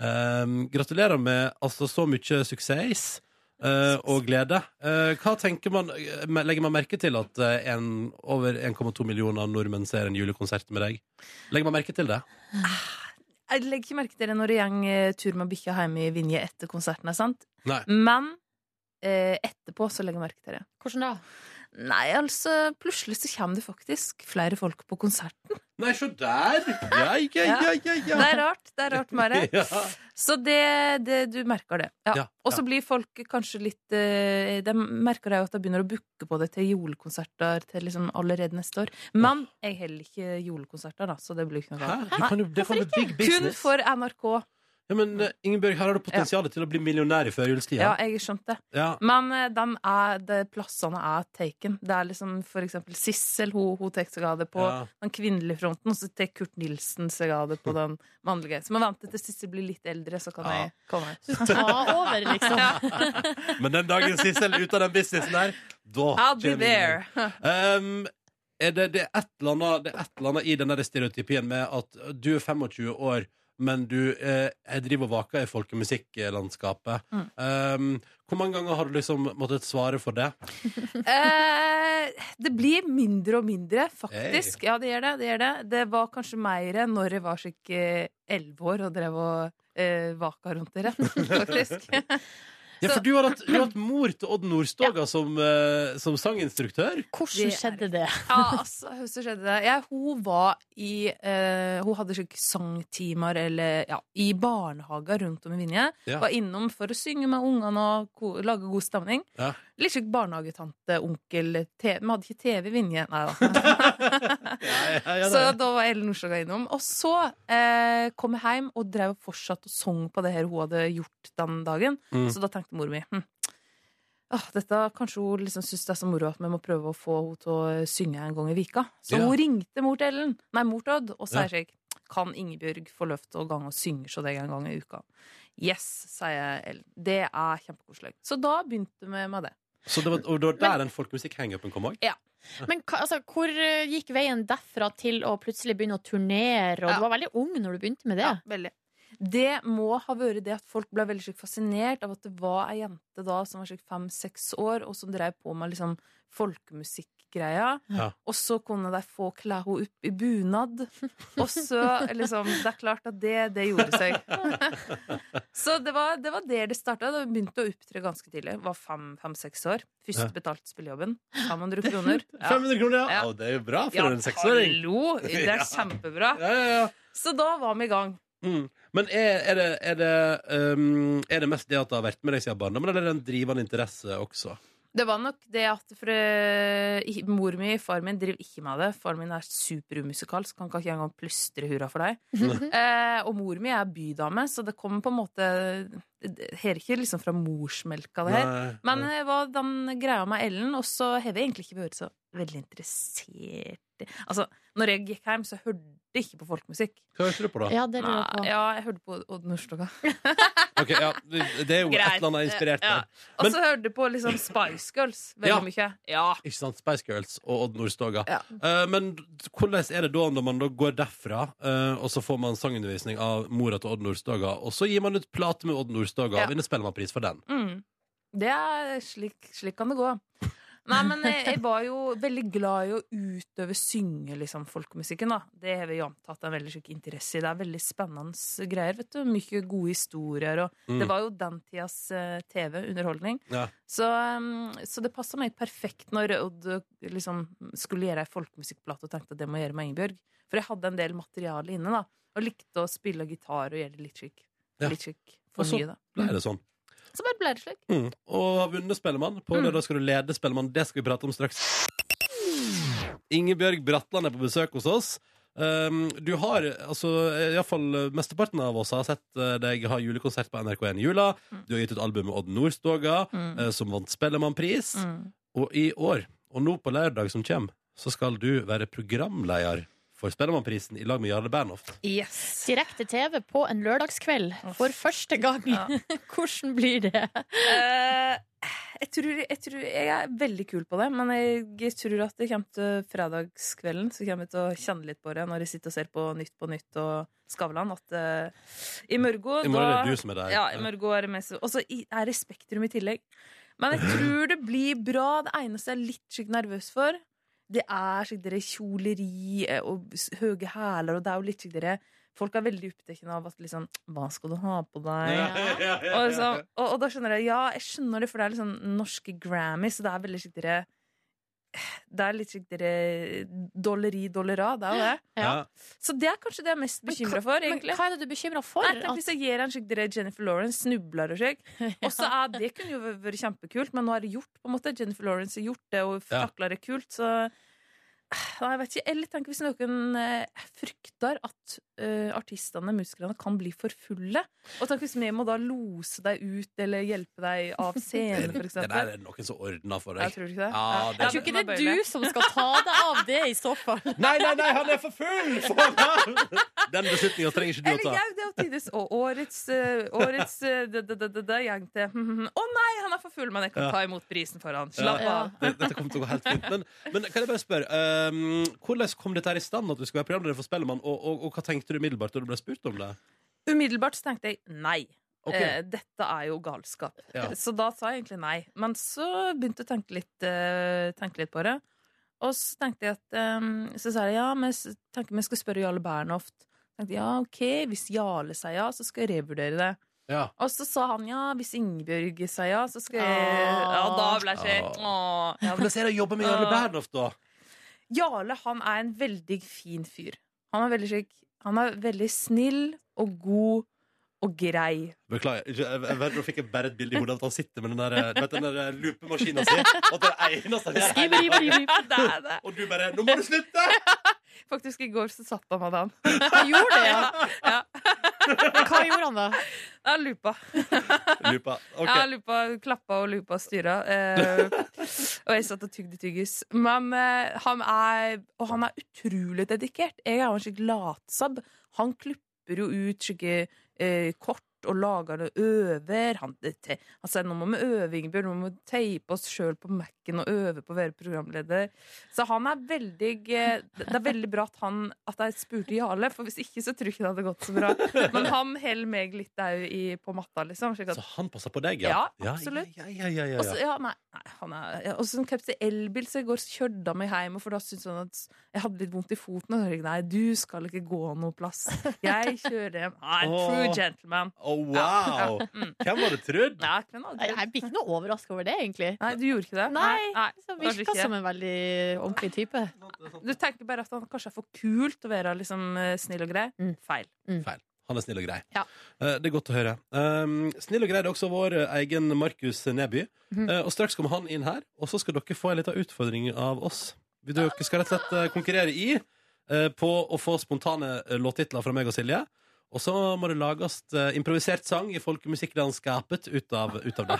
Speaker 1: Ehm, gratulerer med altså, så mye suksess eh, og glede. Eh, hva tenker man, eh, Legger man merke til at eh, en, over 1,2 millioner nordmenn ser en julekonsert med deg? Legger man merke til det?
Speaker 11: Jeg legger ikke merke til det når jeg går eh, tur med bikkja hjemme i Vinje etter konserten. er sant?
Speaker 1: Nei.
Speaker 11: Men eh, etterpå så legger jeg merke til det.
Speaker 2: Hvordan da?
Speaker 11: Nei, altså, plutselig så kommer det faktisk flere folk på konserten.
Speaker 1: Nei, se der! Ja, ja, ja, ja, ja.
Speaker 11: Det er rart. Det er rart med det.
Speaker 1: Ja.
Speaker 11: Så det, det, du merker det. Ja.
Speaker 1: Ja,
Speaker 11: Og så blir folk kanskje litt eh, De merker det jo at de begynner å booke på det til julekonserter til liksom allerede neste år. Men jeg holder ikke julekonserter, da, så det blir ikke noe
Speaker 1: Hæ? Du kan jo- det er faen meg big
Speaker 11: Kun
Speaker 1: business.
Speaker 11: for NRK.
Speaker 1: Ja, men eh, Ingeborg, her har du potensial til å bli millionær i førjulstida.
Speaker 11: Ja, jeg har skjønt det.
Speaker 1: Ja.
Speaker 11: Men eh, dem er, de plassene er taken. Det er liksom for eksempel Sissel, hun, hun tar seg av det på
Speaker 1: Ja.
Speaker 11: den kvinnelige fronten, og så tar Kurt Nilsen seg av det på den mannlige. Så må jeg vente til Sissel blir litt eldre, så kan
Speaker 1: Ja.
Speaker 11: jeg komme.
Speaker 2: Ta over, liksom.
Speaker 1: Men den dagen Sissel er ute av den businessen der, da
Speaker 11: I'll be
Speaker 1: kommer
Speaker 11: there.
Speaker 1: Um, er det, det, er et eller annet, det er et eller annet i den der stereotypien med at du er 25 år, men du eh, jeg driver og vaker i folkemusikklandskapet. Um, hvor mange ganger har du liksom måttet svare for det?
Speaker 11: Eh, det blir mindre og mindre, faktisk. Ja, det gjør det. Det, gjør det. det var kanskje mer når jeg var slik elleve år og drev og eh, vaka rundt dere, faktisk.
Speaker 1: Ja, for du har hatt, du har hatt mor til Odd Nordstoga som, eh, som sanginstruktør.
Speaker 2: Hvordan skjedde det?
Speaker 11: Ja, altså, så skjedde det. Jeg, hun var i eh, Hun hadde slik sangtimer eller ja, i barnehager rundt om i Vinje.
Speaker 12: Ja.
Speaker 11: Var innom for å synge med ungene og ko lage god stemning.
Speaker 1: Ja.
Speaker 11: Litt slik barnehagetante, onkel te- Vi hadde ikke TV i Vinje, nei da. så da var Ellen Nordstoga innom. Og så eh, kom jeg hjem og drev og fortsatt og sang på det her hun hadde gjort den dagen.
Speaker 12: Mm.
Speaker 11: Så da tenkte mor mi hm, Åh, dette, Kanskje hun liksom syns det er så moro at vi må prøve å få henne til å synge en gang i vika. Så
Speaker 12: Ja.
Speaker 11: hun ringte mor til Ellen, nei, mor til Odd, og
Speaker 12: Ja.
Speaker 11: sier slik Kan Ingebjørg få lov til å gange og synge hos deg en gang i uka? Yes, sier Ellen. Det er kjempekoselig. Så da begynte vi med det.
Speaker 1: Så det var, og det var der den folkemusikk-hangupen kom òg?
Speaker 11: Ja.
Speaker 2: Men hva- altså, hvor eh, gikk veien derfra til å plutselig begynne å turnere? Og Du var veldig ung når du begynte med det.
Speaker 11: veldig. Det må ha vært det at folk ble veldig slik fascinert av at det var ei jente da som var fem-seks år, og som dreiv på med liksom folkemusikkgreia.
Speaker 12: Ja.
Speaker 11: Og så kunne de få kle henne opp i bunad. Og så liksom Det er klart at det, det gjorde seg. så det var, det var der det starta. Da vi begynte å opptre ganske tidlig. Var fem- fem-seks år. Først
Speaker 1: Ja.
Speaker 11: betalt spillejobben. 500 kroner.
Speaker 1: 500 kroner, ja. Å, det er jo bra for en seksåring.
Speaker 11: Hallo! Det er
Speaker 1: Ja.
Speaker 11: kjempebra. Så da var vi i gang.
Speaker 1: Mm. Men er, er, det, er, det, um, er det mest det at det har vært med deg siden barndommen, eller er det en drivende interesse også?
Speaker 11: Det var nok det at for, eh, i- mor mi far min driver ikke med det. Faren min er superumusikalsk, han kan ikke engang plystre hurra for deg.
Speaker 1: Mhm.
Speaker 11: eh, og mor mi er bydame, så det kommer på en måte Det hører ikke liksom fra morsmelka, det her.
Speaker 12: Nei,
Speaker 11: Men det var den greia med Ellen, og så har jeg egentlig ikke vært så veldig interessert i- Altså, når jeg gikk hjem, så hørte jeg ikke på folkemusikk.
Speaker 1: Hva hørte du på, da?
Speaker 11: Ja, det lurer jeg på. Ja, jeg hørte på Odd Nordstoga.
Speaker 1: Ok, ja, det, det er jo et eller annet inspirert
Speaker 11: Ja.
Speaker 1: der.
Speaker 11: Og
Speaker 1: Men-
Speaker 11: så hørte jeg på liksom Spice Girls veldig mye. Ja.
Speaker 1: Ikke sant? Spice Girls og Odd Nordstoga. Eh, men hvordan er det da når man da går derfra, eh, og så får man sangundervisning av mora til Odd Nordstoga, og så gir man ut plate med Odd Nordstoga
Speaker 11: Ja.
Speaker 1: og vinner Spellemannpris for den?
Speaker 11: Mm. Det er slik, slik kan det gå. Nei, men jeg, jeg var jo veldig glad i å utøve synge liksom, folkemusikken, da. Det har vi jo antatt en veldig slik interesse i. Det er veldig spennende greier, vet du. Mye gode historier, og
Speaker 12: Mm.
Speaker 11: Det var jo den tidas eh, TV-underholdning.
Speaker 12: Ja.
Speaker 11: Så, um, så det passa meg perfekt når Odd liksom, skulle gjøre ei folkemusikkplate og tenkte at det må jeg gjøre med Ingebjørg. For jeg hadde en del materiale inne, da. Og likte å spille gitar og gjøre det litt slik.
Speaker 1: Ja.
Speaker 11: Litt slik
Speaker 1: Og
Speaker 11: for
Speaker 1: så
Speaker 11: mye, da.
Speaker 1: ble det sånn.
Speaker 11: Så bare ble det slik.
Speaker 1: Mm. Og har vunnet Spellemann.
Speaker 11: Mm.
Speaker 1: På lørdag skal du lede Spellemann. Det skal vi prate om straks. Ingebjørg Bratland er på besøk hos oss. Um, du har, altså iallfall mesteparten av oss har sett eh, deg ha julekonsert på NRK1 i jula.
Speaker 11: Mm.
Speaker 1: Du har gitt ut album med Odd Nordstoga,
Speaker 12: Mm.
Speaker 1: eh, som vant Spellemannpris.
Speaker 11: Mm.
Speaker 1: Og i år, og nå på lørdag som kommer, så skal du være programleder for Spellemannprisen i lag med Jarle Bernhoft.
Speaker 2: Direkte TV på en lørdagskveld for første gang. Hvordan blir det?
Speaker 11: Eh, jeg, tror, jeg tror Jeg er veldig kul på det, men jeg tror at det kommer til fredagskvelden. Så kommer jeg til å kjenne litt på det når jeg sitter og ser på Nytt på Nytt og Skavlan. At eh, i Mørgo
Speaker 1: I morgen er det du som er der.
Speaker 11: Ja, i Mørgo er det mest Og så i- er det Spektrum i tillegg. Men jeg tror det blir bra. Det eneste jeg er litt skikkelig nervøs for, det er slik dere kjoleri eh, og s- høye hæler, og det er jo litt slik dere Folk er veldig opptatt av at liksom Hva skal du ha på deg?
Speaker 12: Ja, ja, ja, ja, ja.
Speaker 11: Og, liksom, og, og da skjønner jeg Ja, jeg skjønner det, for det er liksom norske Grammy, så det er veldig slik dere Det er litt slik dere Dolleri dollera, det er jo det.
Speaker 2: Ja.
Speaker 11: Så det er kanskje det jeg er mest bekymra for, egentlig.
Speaker 2: hva er det du er bekymra for?
Speaker 11: Nei, tenk hvis jeg gir en slik dere Jennifer Lawrence snubler og slik. Og så er det kunne jo vært kjempekult, men nå er det gjort, på en måte. Jennifer Lawrence har gjort det og
Speaker 1: Ja.
Speaker 11: takla det kult, så Nei, jeg vet ikke. Eller tenk hvis noen eh, frykter at eh, artistene, musikerne, kan bli for fulle. Og tenk hvis vi må da lose deg ut eller hjelpe deg av scenen, for
Speaker 1: Det der
Speaker 11: eksempel.
Speaker 1: er noen som ordner for deg.
Speaker 11: Jeg tror ikke det.
Speaker 1: Ja,
Speaker 2: Jeg tror ikke det er du som skal ta deg av det, i så fall.
Speaker 1: Nei, nei, nei, han er for full! Den beslutninga trenger ikke
Speaker 11: Eller
Speaker 1: du å ta.
Speaker 11: jau, det er jo tides og årets, eh, årets eh, det, det, det, det, det, gjeng til Å nei, han er for full, men jeg kan
Speaker 1: Ja.
Speaker 11: ta imot prisen for han.
Speaker 1: Ja,
Speaker 11: Slapp av.
Speaker 1: det- Dette kommer til å gå helt fint. Men, men kan jeg bare spørre, ehm, hvordan kom dette her i stand, at du skulle være programleder for Spellemann, og, og, og hva tenkte du umiddelbart da du ble spurt om det?
Speaker 11: Umiddelbart så tenkte jeg nei.
Speaker 1: Ok.
Speaker 11: Eh, dette er jo galskap.
Speaker 1: Ja.
Speaker 11: Så da sa jeg egentlig nei. Men så begynte jeg å tenke litt, eh, tenke litt på det. Og så tenkte jeg at eh, Så sa jeg ja, men jeg tenkte vi skal spørre Jarle Bernhoft. Tenkte jeg, ja, ok, Hvis Jarle sier ja, så skal jeg revurdere det.
Speaker 1: Ja.
Speaker 11: Og så sa han ja, hvis Ingebjørg sa ja, så skal jeg
Speaker 1: Ah.
Speaker 11: Ja, da ble jeg
Speaker 1: Åh.
Speaker 11: ikke Åh. Ja.
Speaker 1: Hvordan er det å jobbe med Jarle
Speaker 11: Åh.
Speaker 1: Bernhoft, da?
Speaker 11: Jarle han er en veldig fin fyr. Han er veldig, slik- han er veldig snill og god og grei.
Speaker 1: Beklager. ikke- jeg- jeg vet, Nå fikk jeg bare et bilde i hodet av at han sitter med den der, du vet, den der loopemaskina si. Og at det er eneste han gjør hele
Speaker 11: Skibri, bri, bri.
Speaker 1: dagen.
Speaker 11: Det er det.
Speaker 1: Og du bare 'Nå må du slutte!'
Speaker 11: Faktisk, i går så satt han med han.
Speaker 2: Han gjorde det, ja.
Speaker 11: Hva
Speaker 2: gjorde han da?
Speaker 11: Ja, lupa.
Speaker 1: Lupa. Ok.
Speaker 11: Ja, lupa klappa og lupa styra. Eh, og jeg satt og tygde tyggis. Men eh, han er Og han er utrolig dedikert. Jeg er jo en slik latsabb. Han klipper jo ut slike eh, kort. Og lager det øver. Han, det te- han sier nå må vi øve, Ingebjørg. Nå må vi teipe oss sjøl på Mac-en og øve på å være programleder. Så han er veldig eh, Det er veldig bra at, han, at jeg spurte Jarle, for hvis ikke så tror jeg ikke det hadde gått så bra. Men han holder meg litt au i- på matta, liksom. Slik at,
Speaker 1: Så han passer på deg,
Speaker 11: ja,
Speaker 1: ja?
Speaker 11: absolutt.
Speaker 1: Ja, ja, ja, ja, ja.
Speaker 11: Og så ja, nei, nei, han er- ja, og så kjøpte jeg elbil, så i går kjørte han meg hjem. og For da syntes han at jeg hadde litt vondt i foten. Og så sa jeg, nei, du skal ikke gå noe plass. Jeg kjører hjem. Nei, true
Speaker 1: Åh.
Speaker 11: gentleman.
Speaker 1: Å, Oh, wow!
Speaker 11: Mm.
Speaker 1: Hvem hadde trodd?
Speaker 11: Ja, hvem hadde
Speaker 2: Jeg blir ikke noe overraska over det, egentlig.
Speaker 11: Nei, du gjorde ikke det?
Speaker 2: Nei,
Speaker 11: Nei,
Speaker 2: så
Speaker 11: kanskje
Speaker 2: virka
Speaker 11: ikke.
Speaker 2: som en veldig ordentlig type.
Speaker 11: Du tenker bare at han kanskje er for kul til å være liksom, eh, snill og grei.
Speaker 2: Mm.
Speaker 11: Feil.
Speaker 1: Feil. Han er snill og grei.
Speaker 11: Ja.
Speaker 1: Eh, Det er godt å høre. Um, snill og grei det er også vår eh, egen Markus Neby.
Speaker 2: Mhm.
Speaker 1: Eh, og straks kommer han inn her, og så skal dere få en liten utfordring av oss. Vi dere skal rett og slett eh, konkurrere i eh, på å få spontane eh, låttitler fra meg og Silje. Og så må det lages eh, improvisert sang i folkemusikklandskapet ut av, ut av det.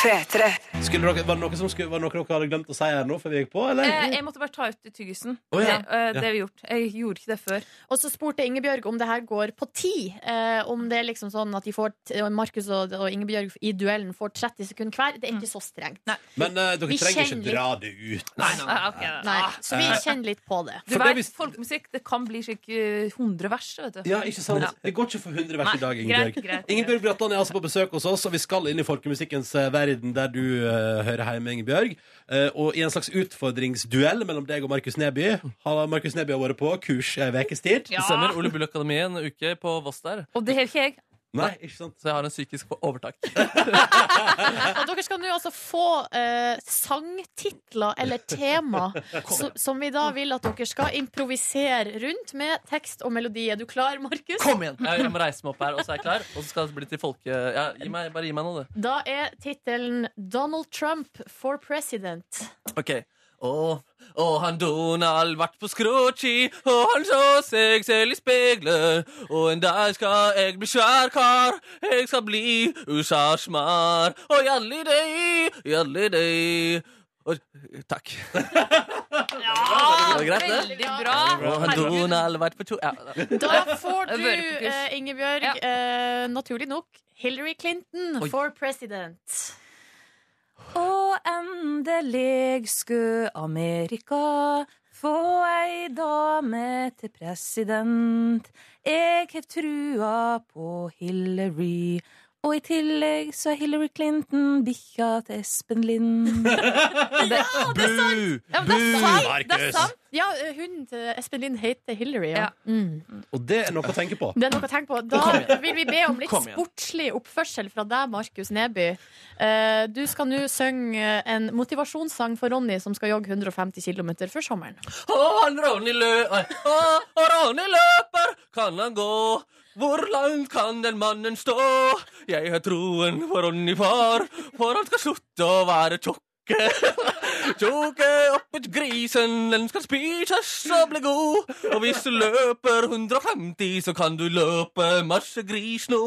Speaker 1: Skulle dere, var det noe som skulle, var det noe dere hadde glemt å si her nå før vi gikk på, eller?
Speaker 11: Eh, jeg måtte bare ta ut tyggisen.
Speaker 1: Å, ja.
Speaker 11: Det, eh, det
Speaker 1: Ja.
Speaker 11: har vi gjort. Jeg gjorde ikke det før.
Speaker 2: Og så spurte Ingebjørg om det her går på ti. Eh, om det er liksom sånn at de får t- Markus og, og Ingebjørg i duellen får 30 sekunder hver. Det er
Speaker 3: Mm.
Speaker 2: ikke så strengt.
Speaker 1: Men eh, dere
Speaker 2: Vi
Speaker 1: trenger ikke
Speaker 2: kjenner litt-
Speaker 1: dra det ut.
Speaker 11: Ah, ok, da.
Speaker 2: Nei, så vi
Speaker 1: Eh.
Speaker 2: kjenner litt på det.
Speaker 11: Du vet, folkemusikk det kan bli slik eh, 100 vers. Vet du.
Speaker 1: Ja, ikke sant?
Speaker 11: Ja.
Speaker 1: Det går ikke for 100 hvert
Speaker 11: Nei,
Speaker 1: i dag,
Speaker 11: greit,
Speaker 1: Ingebjørg.
Speaker 11: greit.
Speaker 1: Ingebjørg Bratland er altså på besøk hos oss, og vi skal inn i folkemusikkens eh, verden, der du eh, hører hjemme, Ingebjørg. Eh, og i en slags utfordringsduell mellom deg og Markus Neby. Har Markus Neby har vært på kurs eh, ei ukes tid.
Speaker 3: Det stemmer. Ole Bull Akademi en uke på Voss der.
Speaker 11: Og det har ikke jeg.
Speaker 1: Nei, ikke sant
Speaker 3: Så jeg har en psykisk overtak.
Speaker 2: Og dere skal nå altså få eh, sangtitler eller tema så, som vi da vil at dere skal improvisere rundt med tekst og melodi. Er du klar, Markus?
Speaker 3: Kom igjen! Jeg, jeg må reise meg opp her, og så er jeg klar. Og så skal det bli til folke... Ja, gi meg, bare gi meg nå, du.
Speaker 2: Da er tittelen 'Donald Trump for President'.
Speaker 3: Ok. Og, og han Donald vart på skråtski, og han så seg selv i speilet. Og en dag skal jeg bli svær kar, jeg skal bli USAs mar. Og gjalli deg, gjalli deg. Oi, takk.
Speaker 9: Ah,
Speaker 2: Ja,
Speaker 3: Det var greit, det.
Speaker 2: veldig bra.
Speaker 3: Og har Donald vært på tur ja, da.
Speaker 2: Da får
Speaker 11: Jeg
Speaker 2: du,
Speaker 11: bør på kurs.
Speaker 2: eh, Ingebjørg, eh, naturlig nok, Hillary Clinton
Speaker 11: Oi.
Speaker 2: for president.
Speaker 9: Og endelig skulle Amerika få ei dame til president. Jeg har trua på Hillary. Og i tillegg så er Hillary Clinton bikkja til Espen Lind.
Speaker 3: Bu!
Speaker 2: Ja, men
Speaker 3: Bu!
Speaker 2: Ja, eh, hunden til Espen Lind heter Hillary. Ja. Mm.
Speaker 1: Og det er noe å tenke på.
Speaker 2: Det er noe å tenke på. Da vil vi be om litt
Speaker 1: Kom igjen.
Speaker 2: sportslig oppførsel fra deg, Markus Neby. Eh, Du skal nå synge en motivasjonssang for Ronny, som skal jogge 150 km før sommeren.
Speaker 3: Å, han Ronny lø... Nei. Å, å, Ronny løper! Kan han gå? Hvor langt kan den mannen stå? Jeg har troen på Ronny far, for han skal slutte å være tjukke. Tjukke opp et grisen, den skal spises og bli god. Og hvis du løper 150, så kan du løpe masse gris nå.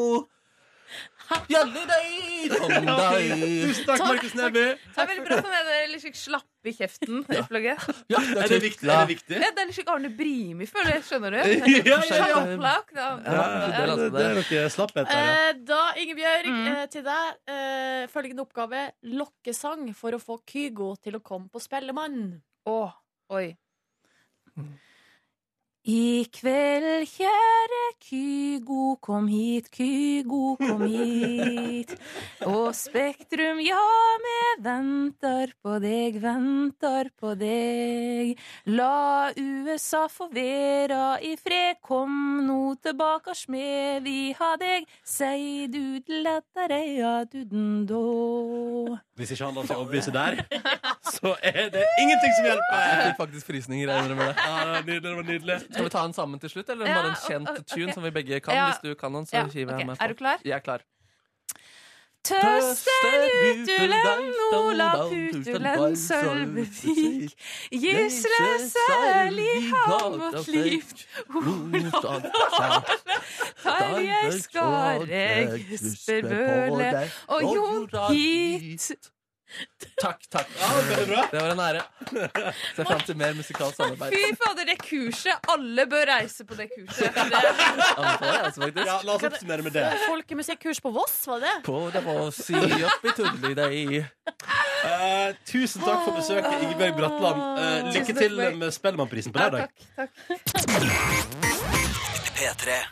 Speaker 3: Gjalli deg, kom deg.
Speaker 1: Tusen takk, Markus Neby.
Speaker 11: Det er veldig bra for meg. Det er litt slik slapp i kjeften. det plagget.
Speaker 1: Er det viktig? Er det viktig?
Speaker 11: Ja, det er litt slik Arne Brimi, føler jeg. Skjønner du?
Speaker 1: Ja, ja, ja.
Speaker 11: Slapp, ja.
Speaker 1: Ja, det, det er noe slapphet der, ja.
Speaker 2: Eh, Da, Ingebjørg, eh, til deg eh, følgende oppgave. Lokkesang for å få Kygo til å komme på Spellemann.
Speaker 11: Åh, oi.
Speaker 9: I kveld, kjære Kygo, kom hit, Kygo, kom hit. Og Spektrum, ja, vi venter på deg, venter på deg. La USA få vera i fred, kom nå tilbake oss med, vi har deg. Sei dudeladereia dudendå.
Speaker 1: Hvis ikke han lar seg overbevise der, så er det ingenting som hjelper.
Speaker 3: Jeg fikk faktisk frysninger. Jeg innrømmer det.
Speaker 1: Ja, det var nydelig, det var nydelig.
Speaker 3: Skal vi ta den sammen til slutt, eller
Speaker 11: Ja,
Speaker 3: bare en kjent
Speaker 11: ok, ok.
Speaker 3: tune som vi begge kan?
Speaker 11: Ja.
Speaker 3: Hvis du kan den, så
Speaker 11: Ja,
Speaker 3: hiver
Speaker 11: ok.
Speaker 3: jeg meg
Speaker 11: Er du klar?
Speaker 3: Jeg er klar.
Speaker 9: Tøster utulen, Ola putulen, Sølvevik. Gisle særlig har vårt liv. Tarjei Skare, Jesper Bøhle og Jon Hit.
Speaker 3: Takk, takk.
Speaker 1: veldig bra.
Speaker 3: Det var en ære. Ser fram til mer musikalsk samarbeid.
Speaker 11: Fy fader, det kurset! Alle bør reise på det kurset. Det
Speaker 3: Anbefaler jeg, altså, faktisk.
Speaker 1: Ja, la oss oppsummere med det.
Speaker 2: Folkemusikkurs på Voss, var det?
Speaker 3: På det må si opp i tullet i deg.
Speaker 1: Eh, tusen takk for besøket, Ingebjørg Bratland. Eh, lykke
Speaker 11: Tusen takk,
Speaker 1: til
Speaker 11: Ingebjørg.
Speaker 1: med Spellemannprisen på
Speaker 11: Ja,
Speaker 1: lørdag.
Speaker 11: takk, takk.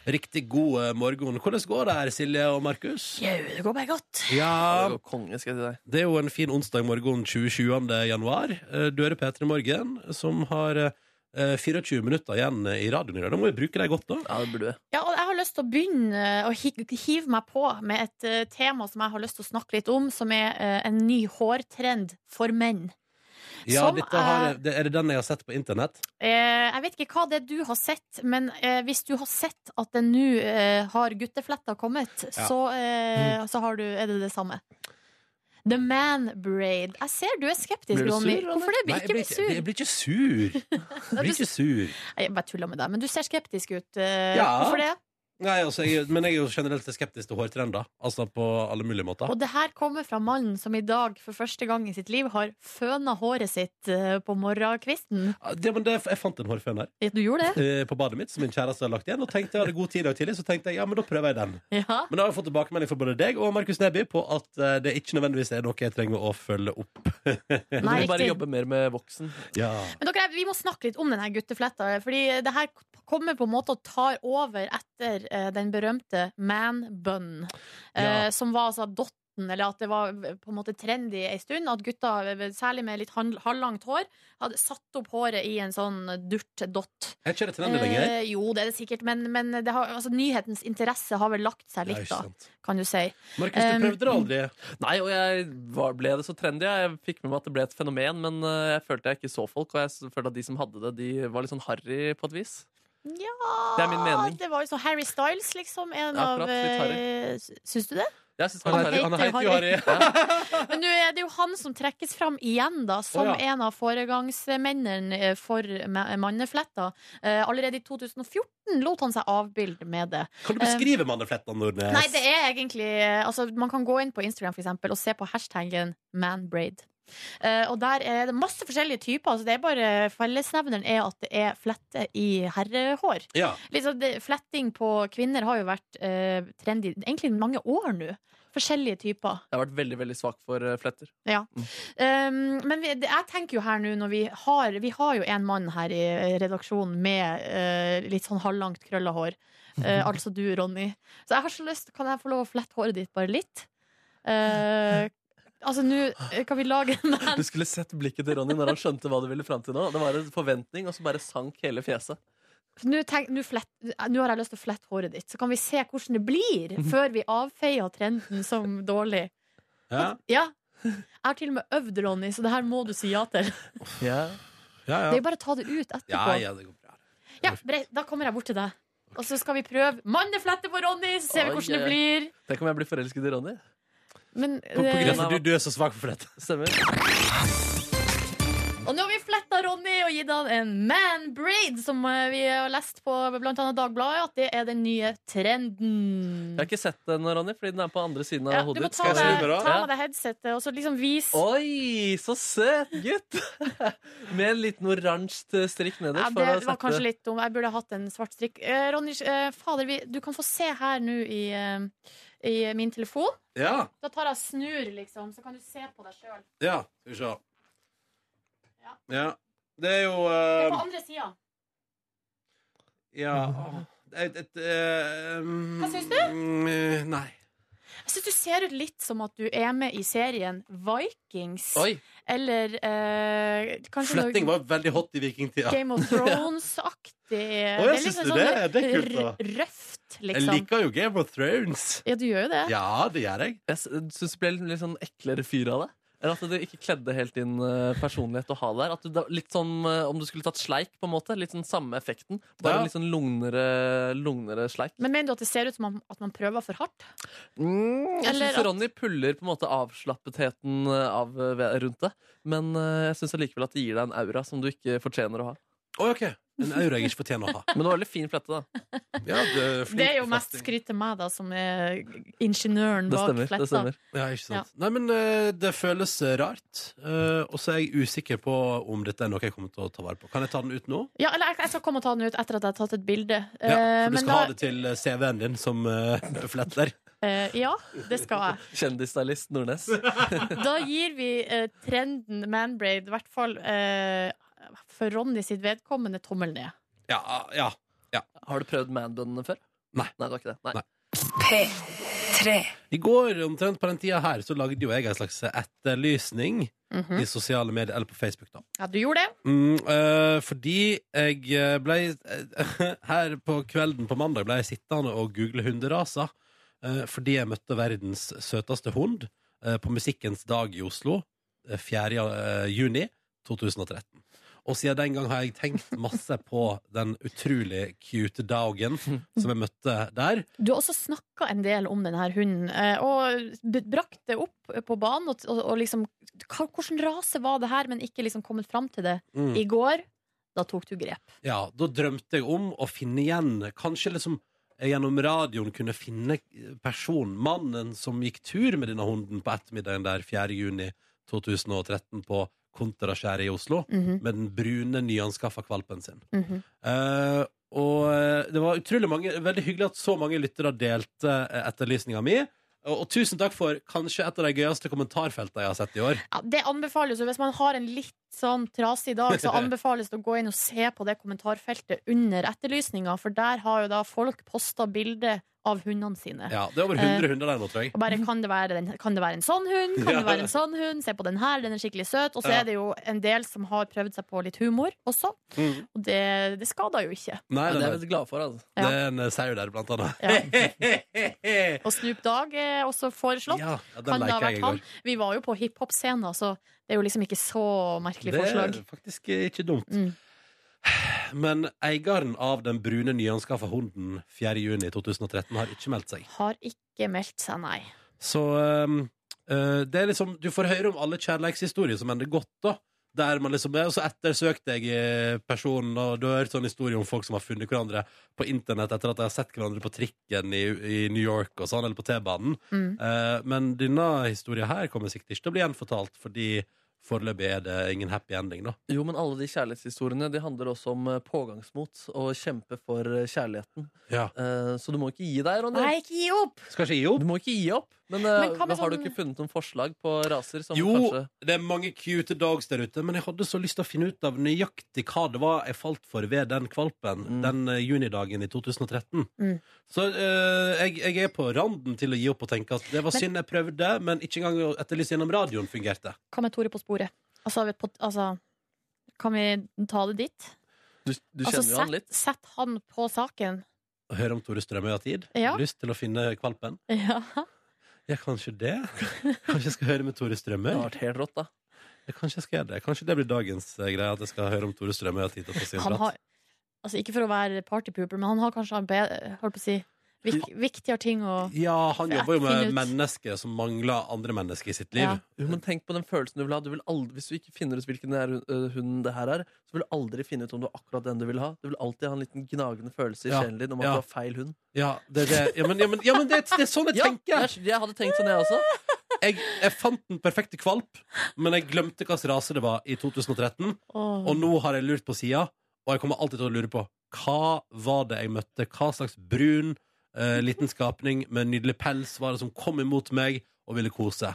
Speaker 1: Riktig god eh, morgen. Hvordan går det her, Silje og Markus?
Speaker 2: Jau, det går bare godt.
Speaker 1: Ja,
Speaker 3: Det går konge, skal jeg si deg.
Speaker 1: Det er jo en fin onsdag morgen 2020. januar. Eh, Du hører P3 Morgen, som har eh, 24 minutter igjen i radioen i dag. Da må vi bruke dem godt, da.
Speaker 3: Ja, det burde du.
Speaker 2: Ja, og jeg har lyst til å begynne eh, å hi- hive meg på med et eh, tema som jeg har lyst til å snakke litt om, som er eh, en ny hårtrend for menn.
Speaker 1: Ja,
Speaker 2: Som
Speaker 1: dette har,
Speaker 2: er-
Speaker 1: det, er det den jeg har sett på internett?
Speaker 2: Eh, Jeg vet ikke hva det er du har sett, men eh, hvis du har sett at det nå eh, har guttefletter kommet,
Speaker 1: Ja. Mm.
Speaker 2: så, eh, så har du, er det det samme. The man braid. Jeg ser du er skeptisk,
Speaker 3: Blir du
Speaker 2: Ronny.
Speaker 3: sur, Ronny?
Speaker 2: Hvorfor det?
Speaker 1: Nei,
Speaker 2: Ikke bli sur.
Speaker 1: jeg blir ikke sur. Jeg blir ikke sur.
Speaker 2: Nei, Jeg bare tuller med deg, men du ser skeptisk ut. eh,
Speaker 1: Ja.
Speaker 2: Hvorfor det?
Speaker 1: Nei, altså, jeg, men jeg er jo generelt skeptisk til hårtrender. Altså på alle mulige måter.
Speaker 2: Og det her kommer fra mannen som i dag for første gang i sitt liv har føna håret sitt eh, på morgenkvisten.
Speaker 1: Ja, Det, men det, jeg fant en hårføn her
Speaker 2: Ja, Du gjorde det?
Speaker 1: eh, på badet mitt som min kjæreste hadde lagt igjen. Og tenkte jeg hadde god tid i dag tidlig, så tenkte jeg ja, men da prøver jeg den.
Speaker 2: Ja.
Speaker 1: Men da har jeg fått tilbakemelding fra både deg og Markus Neby på at eh, det ikke nødvendigvis er noe jeg trenger å følge opp.
Speaker 3: Du må
Speaker 2: Nei,
Speaker 3: bare
Speaker 2: riktig.
Speaker 3: jobbe mer med voksen.
Speaker 1: Ja.
Speaker 2: Men dere, vi må snakke litt om denne guttefletta, fordi det her kommer på en måte og tar over etter eh, den berømte man bun, eh,
Speaker 1: Ja.
Speaker 2: som var altså dotten, eller at det var eh, på en måte trendy en stund, at gutta, eh, særlig med litt hand- halvlangt hår, hadde satt opp håret i en sånn durt dott.
Speaker 1: Er ikke det trendy lenger?
Speaker 2: Eh, jo, det er det sikkert, men, men det har, altså, nyhetens interesse har vel lagt seg
Speaker 1: Ja,
Speaker 2: litt,
Speaker 1: ikke
Speaker 2: da,
Speaker 1: sant.
Speaker 2: kan du si.
Speaker 1: Markus, du
Speaker 2: Um,
Speaker 1: prøvde det aldri.
Speaker 3: Nei, og jeg var, ble det så trendy. ja. Jeg fikk med meg at det ble et fenomen, men eh, jeg følte jeg ikke så folk, og jeg s- følte at de som hadde det, de var litt sånn harry på et vis.
Speaker 2: Ja,
Speaker 3: Det er min mening.
Speaker 2: Det var jo sånn Harry Styles, liksom. En
Speaker 3: Ja, akkurat,
Speaker 2: av
Speaker 3: litt harry.
Speaker 2: eh, s- Syns du det?
Speaker 3: Jeg synes det
Speaker 1: Han
Speaker 3: var
Speaker 2: Han
Speaker 1: heter,
Speaker 3: harry.
Speaker 1: han
Speaker 2: heter
Speaker 1: heter jo Harry.
Speaker 2: Men nå er det jo han som trekkes fram igjen, da, som
Speaker 1: Å, ja.
Speaker 2: en av foregangsmennene eh, for ma- mannefletter. Eh, Allerede i 2014 lot han seg avbilde med det.
Speaker 1: Kan du beskrive manneflettene, Nordnes?
Speaker 2: Nei, det er egentlig eh, Altså, man kan gå inn på Instagram, for eksempel, og se på hashtaggen manbraid. Eh, og der er det masse forskjellige typer. Altså det er bare Fellesnevneren er at det er flette i herrehår.
Speaker 1: Ja.
Speaker 2: Litt sånn det, fletting på kvinner har jo vært eh, trendy egentlig mange år nå. Forskjellige typer.
Speaker 3: Jeg har vært veldig veldig svak for eh, fletter.
Speaker 2: Ja. Um, men vi, det, jeg tenker jo her nå når vi har Vi har jo en mann her i eh, redaksjonen med eh, litt sånn halvlangt krølla hår. Eh, altså du, Ronny. Så jeg har så lyst Kan jeg få lov å flette håret ditt bare litt? Eh, altså nå eh, kan vi lage en
Speaker 3: Du skulle sett blikket til Ronny når han skjønte hva du ville fram til nå. Det var en forventning, og så bare sank hele fjeset.
Speaker 2: Nå tenk- nå flett- nå har jeg lyst til å flette håret ditt, så kan vi se hvordan det blir før vi avfeier trenden som dårlig.
Speaker 1: Ja.
Speaker 2: Ja. Jeg har til og med øvd, Ronny, så det her må du si ja til.
Speaker 3: Ja.
Speaker 1: Ja,
Speaker 2: Det er jo bare å ta det ut etterpå.
Speaker 1: ja, ja, det går bra.
Speaker 2: Ja, Brei, da kommer jeg bort til deg. Og så skal vi prøve manneflette på Ronny, så ser vi
Speaker 3: Oi,
Speaker 2: hvordan det
Speaker 3: oi.
Speaker 2: blir.
Speaker 3: Tenk om jeg blir forelsket i Ronny.
Speaker 2: Men,
Speaker 1: På, på grunn av
Speaker 2: eh,
Speaker 1: at du, du er så svak for flette.
Speaker 3: Stemmer.
Speaker 2: og nå har vi fletta Ronny og gitt han en man braid, som eh, vi har lest på bl.a. Dagbladet, at det er den nye trenden.
Speaker 3: Jeg har ikke sett den, Ronny, fordi den er på andre siden av
Speaker 2: Ja, du
Speaker 3: hodet
Speaker 2: må
Speaker 3: ditt.
Speaker 2: ta
Speaker 3: Skal jeg
Speaker 2: med,
Speaker 3: snu meg da?
Speaker 2: ta med
Speaker 3: Ja.
Speaker 2: deg headsetet og så liksom vise
Speaker 3: Oi, så søt gutt! Med en liten oransje strikk nederst.
Speaker 2: ja,
Speaker 3: for
Speaker 2: Det
Speaker 3: å
Speaker 2: var
Speaker 3: sette-
Speaker 2: kanskje litt dumt. Jeg burde hatt en svart strikk. Eh, Ronny, eh, fader, vi, du kan få se her nå i, eh, i min telefon.
Speaker 1: Ja.
Speaker 2: Da tar jeg og snur, liksom, så kan du se på deg sjøl.
Speaker 1: Ja, skal vi se. Ja. Det er jo eh,
Speaker 2: På andre sida.
Speaker 1: Ja åh, et, et, eh, mm,
Speaker 2: Hva syns du?
Speaker 1: mm, Nei.
Speaker 2: Jeg syns du ser ut litt som at du er med i serien Vikings.
Speaker 1: Oi.
Speaker 2: Eller eh, kanskje noe
Speaker 1: Fletting var veldig hot i vikingtida.
Speaker 2: Game of Thrones-aktig. liksom
Speaker 1: Å, jeg syns du det? Det er kult, da.
Speaker 2: sånn r- Røft,
Speaker 1: Jeg
Speaker 2: liksom.
Speaker 1: liker jo Game of Thrones.
Speaker 2: Ja, du gjør jo det.
Speaker 1: Ja, det gjør jeg.
Speaker 3: Jeg syns det ble litt, litt sånn eklere fyr av det. Eller at det ikke kledde helt din eh, personlighet å ha der. At du, da- litt sånn, eh, Om du skulle tatt sleik, på en måte. Litt sånn samme effekten. Bare
Speaker 2: Ja.
Speaker 3: litt sånn lugnere, lugnere sleik.
Speaker 2: Men mener du at det ser ut som om- at man prøver for hardt?
Speaker 3: Jeg
Speaker 2: Eller
Speaker 3: syns
Speaker 2: at-
Speaker 3: Ronny puller på en måte avslappetheten eh, av, eh, ved- rundt det. Men eh, jeg syns allikevel at det gir deg en aura som du ikke fortjener å ha.
Speaker 1: Oi, ok. En aura jeg ikke fortjener å ha.
Speaker 3: Men det var veldig fin flette, da.
Speaker 1: Ja, det, er flink
Speaker 2: Det er jo mest
Speaker 1: fletting.
Speaker 2: skryt til meg, da, som er ingeniøren
Speaker 1: Det
Speaker 2: bak
Speaker 1: stemmer, det
Speaker 2: fletta.
Speaker 1: stemmer. Ja, ikke sant. Nei, men eh, det føles rart. eh, og så er jeg usikker på om dette er noe jeg kommer til å ta vare på. Kan jeg ta den ut nå?
Speaker 2: Ja, eller jeg- jeg skal komme og ta den ut etter at jeg har tatt et bilde.
Speaker 1: Ja,
Speaker 2: Eh,
Speaker 1: for du
Speaker 2: men
Speaker 1: skal
Speaker 2: da-
Speaker 1: ha det til eh, CV-en din som eh, fletter.
Speaker 2: eh, ja, det skal jeg.
Speaker 3: Kjendisstylist Nordnes.
Speaker 2: Da gir vi eh, trenden manbraid, i hvert fall eh, for Ronny sitt vedkommende, tommel ned.
Speaker 1: Ja, ja, ja.
Speaker 3: Har du prøvd manbøndene før?
Speaker 1: Nei.
Speaker 3: Nei, det var ikke det. Nei.
Speaker 2: P3
Speaker 1: I går omtrent på den tida her så lagde jo jeg en slags etterlysning
Speaker 2: Mhm.
Speaker 1: i sosiale medier, eller på Facebook, da.
Speaker 2: Ja, du gjorde det.
Speaker 1: Mm, øh, fordi jeg øh, ble øh, Her på kvelden på mandag ble jeg sittende og google hunderaser. øh, fordi jeg møtte verdens søteste hund øh, på Musikkens dag i Oslo øh, 4. øh, juni 2013. Og siden den gang har jeg tenkt masse på den utrolig cute dagen som jeg møtte der.
Speaker 2: Du har også snakka en del om denne hunden, eh, og b- brakt det opp eh, på banen. Og, og, og liksom, hva, hvordan rase var det her, men ikke liksom kommet fram til det
Speaker 1: Mm.
Speaker 2: i går? Da tok du grep.
Speaker 1: Ja, da drømte jeg om å finne igjen Kanskje liksom jeg gjennom radioen kunne finne eh, personen, mannen som gikk tur med denne hunden på ettermiddagen der 4. juni 2013 på Kontraskjæret i Oslo
Speaker 12: Mhm.
Speaker 1: med den brune, nyanskaffa kvalpen sin.
Speaker 3: Mhm.
Speaker 1: Eh, og eh, det var utrolig mange Veldig hyggelig at så mange lyttere delte eh, etterlysninga mi. Og, og tusen takk for kanskje et av de gøyeste kommentarfeltene jeg har sett i år.
Speaker 2: Ja, det anbefales jo. Hvis man har en litt sånn trasig dag, så anbefales det å gå inn og se på det kommentarfeltet under etterlysninga, for der har jo da folk posta bilder av hundene sine.
Speaker 1: Ja, Det er over
Speaker 2: Eh,
Speaker 1: 100 hunder der nå, tror jeg.
Speaker 2: Og bare, kan, det være den, kan det være en sånn hund? Kan
Speaker 1: Ja.
Speaker 2: det være en sånn hund? Se på den her, den er skikkelig søt. Og så
Speaker 1: Ja.
Speaker 2: er det jo en del som har prøvd seg på litt humor også.
Speaker 1: Mm.
Speaker 2: Og det, det skader jo ikke.
Speaker 1: Nei, nei,
Speaker 3: Ja, det er
Speaker 1: nei.
Speaker 3: jeg veldig glad for. Altså.
Speaker 2: Ja.
Speaker 1: Det er en eh, sau der, blant annet.
Speaker 2: Og Snoop Dogg er også foreslått.
Speaker 1: Ja, ja, den
Speaker 2: kan det ha
Speaker 1: liker jeg i
Speaker 2: vært han?
Speaker 1: går.
Speaker 2: Vi var jo på hiphop-scenen, så det er jo liksom ikke så merkelig forslag. Mm.
Speaker 1: Det er faktisk eh, ikke dumt. Men eieren av den brune nyanskaffa hunden 4. juni 2013 har ikke meldt seg.
Speaker 2: Har ikke meldt seg, nei.
Speaker 1: Så ehm, eh, det er liksom Du får høre om alle kjærlighetshistorier som ender godt, da. Der man liksom er, og så ettersøkte jeg eh, personen, og du har hørt sånn historie om folk som har funnet hverandre på internett etter at de har sett hverandre på trikken i, i New York og sånn, eller på T-banen.
Speaker 12: Mm.
Speaker 1: Eh, men denne historien her kommer sikkert ikke til å bli gjenfortalt, fordi foreløpig er det ingen happy ending, da.
Speaker 3: Jo, men alle de kjærlighetshistoriene De handler også om eh, pågangsmot og kjempe for eh, kjærligheten. Eh, Så du må ikke gi deg, Ronny.
Speaker 2: Nei, ikke gi opp!
Speaker 1: Skal ikke gi opp.
Speaker 3: Du må ikke gi opp. Men, eh,
Speaker 2: Men hva med
Speaker 3: har du
Speaker 2: sånn-
Speaker 3: ikke funnet noen forslag på raser som
Speaker 1: Jo,
Speaker 3: kanskje
Speaker 1: det er mange cute dogs der ute, men jeg hadde så lyst til å finne ut av nøyaktig hva det var jeg falt for ved den kvalpen den eh, junidagen i 2013.
Speaker 2: Mm.
Speaker 1: Så eh, jeg, jeg er på randen til å gi opp og tenke at det var synd jeg prøvde, men ikke engang å etterlyse gjennom radioen fungerte.
Speaker 2: Hva med Tore på sporet? Altså, vi- på, altså kan vi ta det dit?
Speaker 3: Du, du
Speaker 2: altså,
Speaker 3: kjenner jo han
Speaker 2: sett,
Speaker 3: litt.
Speaker 2: sett han på saken.
Speaker 1: Å høre om Tore Strømøy har tid?
Speaker 2: Ja.
Speaker 1: Lyst til å finne kvalpen?
Speaker 2: Ja.
Speaker 1: Ja, kanskje det. Kanskje jeg skal høre med Tore Strømøy?
Speaker 3: Det har vært helt rått, da.
Speaker 1: Ja, kanskje jeg skal gjøre det. Kanskje det blir dagens eh, greie, at jeg skal høre om Tore Strømøy har tid til å få sin
Speaker 2: Han
Speaker 1: prat.
Speaker 2: har, altså, ikke for å være partypooper, men han har kanskje en bedre, holdt på å si, vik, viktigere ting å
Speaker 1: Ja, han jobber jo
Speaker 2: Finn
Speaker 1: med
Speaker 2: ut.
Speaker 1: mennesker som mangler andre mennesker i sitt liv.
Speaker 2: Ja.
Speaker 3: Jo, men tenk på den følelsen du vil ha. Du vil aldri, hvis du ikke finner ut hvilken det er, øh, hund det her er, så vil du aldri finne ut om det var akkurat den du vil ha. Du vil alltid ha en liten gnagende følelse i
Speaker 1: Ja,
Speaker 3: sjelen din om at
Speaker 1: ja.
Speaker 3: du har feil hund.
Speaker 1: Ja, det, er det. ja men, ja, men, ja, men det, er- det er sånn jeg
Speaker 3: Ja,
Speaker 1: tenker.
Speaker 3: jeg, jeg hadde tenkt sånn, jeg også.
Speaker 1: Jeg, jeg fant den perfekte kvalp, men jeg glemte hvilken rase det var i 2013.
Speaker 2: Åh.
Speaker 1: Og nå har jeg lurt på sida, og jeg kommer alltid til å lure på hva var det jeg møtte. Hva slags brun eh, liten skapning med nydelig pels var det som kom imot meg og ville kose?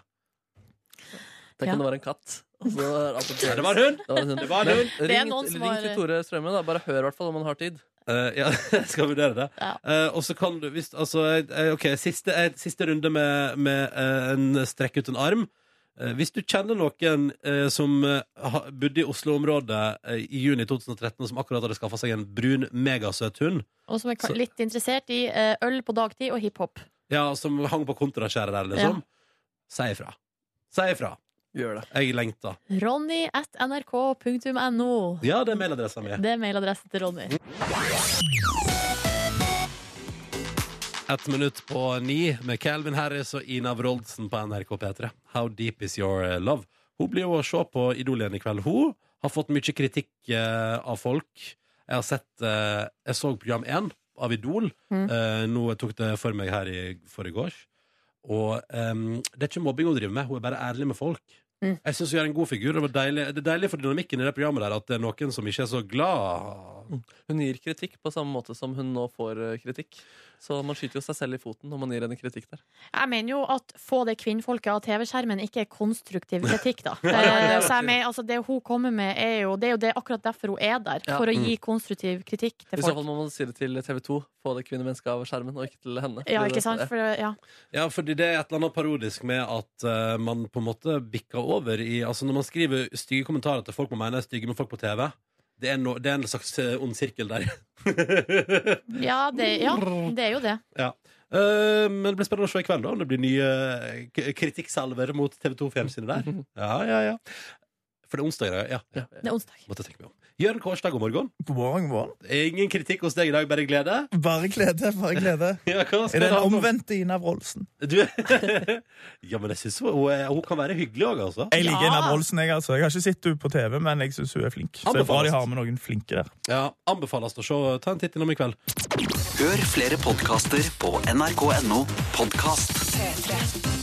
Speaker 3: Tenk om det var en katt. Og så var alt opp til-
Speaker 1: Ja, det var en hund.
Speaker 3: Det var en hund.
Speaker 1: Det var en
Speaker 3: Men
Speaker 1: hund.
Speaker 2: Det er
Speaker 3: Ring,
Speaker 2: noen som
Speaker 3: ring
Speaker 2: har-
Speaker 3: til Tore Strømme, da. Bare hør i hvert fall om han har tid.
Speaker 1: Eh, ja, jeg skal vurdere det. Eh, og så kan du hvis, altså, eh, OK, siste, eh, siste runde med, med eh, en strekk ut en arm. Eh, hvis du kjenner noen eh, som eh, ha- bodde i Oslo-området eh, i juni 2013, og som akkurat hadde skaffa seg en brun, megasøt hund,
Speaker 2: Og som er ka-
Speaker 1: Så-
Speaker 2: litt interessert i eh, øl på dagtid og hiphop.
Speaker 1: ja, og som hang på kontraskjæret der, liksom,
Speaker 2: Ja.
Speaker 1: si ifra. Si ifra.
Speaker 3: Gjør det.
Speaker 1: Jeg lengter.
Speaker 2: Ronny at nrk.no.
Speaker 1: Ja, det er mailadressa mi.
Speaker 2: Det er mailadressen til Ronny.
Speaker 1: Ett minutt på ni med Calvin Harris og Ina Wroldsen på NRK P3. How deep is your eh, love? Hun blir jo å se på Idol igjen i kveld. Hun har fått mye kritikk eh, av folk. Jeg har sett eh, Jeg så program én av Idol.
Speaker 12: Mm.
Speaker 1: Eh, nå tok det for meg her i forgårs. Og ehm, det er ikke mobbing hun driver med, hun er bare ærlig med folk.
Speaker 2: Mm.
Speaker 1: Jeg syns hun gjør en god figur. og Det, var deilig. det er deilig for dynamikken i det programmet der at det er noen som ikke er så glad.
Speaker 3: Hun gir kritikk på samme måte som hun nå får øh, kritikk. Så man skyter jo seg selv i foten når man gir henne kritikk der.
Speaker 2: Jeg mener jo at få det kvinnfolket av TV-skjermen ikke er konstruktiv kritikk, da.
Speaker 3: Nei, nei,
Speaker 2: Eh,
Speaker 3: det er
Speaker 2: Så jeg mener, altså, det hun kommer med, er jo Det er jo det, akkurat derfor hun er der.
Speaker 3: Ja.
Speaker 2: For å
Speaker 3: Mm.
Speaker 2: gi konstruktiv kritikk
Speaker 3: I
Speaker 2: til
Speaker 3: så fall
Speaker 2: folk.
Speaker 3: må man si det til TV 2. Få det kvinnemennesket av skjermen, og ikke til henne.
Speaker 2: Ja,
Speaker 3: Fordi det-
Speaker 2: ikke sant? For, ja.
Speaker 1: Ja, fordi det er et eller annet parodisk med at eh, man på en måte bikker over i Altså når man skriver stygge kommentarer til folk man mener er stygge med folk på TV, det er, no, det er en slags eh, ond sirkel der.
Speaker 2: Ja, det, ja, det er jo det.
Speaker 1: ja. Eh, men det blir spennende å se i kveld da om det blir nye eh, k- kritikksalver mot TV2 Fjernsynet der. Ja, ja, ja. For det er onsdag i dag, ja. ja.
Speaker 2: Det er onsdag.
Speaker 1: Måtte jeg tenke meg om. Jørn Kårstad, god morgen.
Speaker 13: God morgen, god morgen.
Speaker 1: Ingen kritikk hos deg i dag, bare glede?
Speaker 13: Bare glede, bare glede.
Speaker 1: Ja, hva
Speaker 13: Er
Speaker 1: skal
Speaker 13: Altså, det
Speaker 1: det
Speaker 13: den
Speaker 1: handle om?
Speaker 13: omvendte Ina Wroldsen?
Speaker 1: Du, ja, men jeg synes hun, hun, er- hun kan være hyggelig òg, altså.
Speaker 13: Jeg liker Ina Wroldsen, jeg, altså. Jeg har ikke sett henne på TV, men jeg syns hun er flink. Så det er bra de har med noen flinke der.
Speaker 1: Ja, anbefales å se. Ta en titt innom i kveld.
Speaker 14: Hør flere podkaster på nrk.no podkast.
Speaker 15: P3.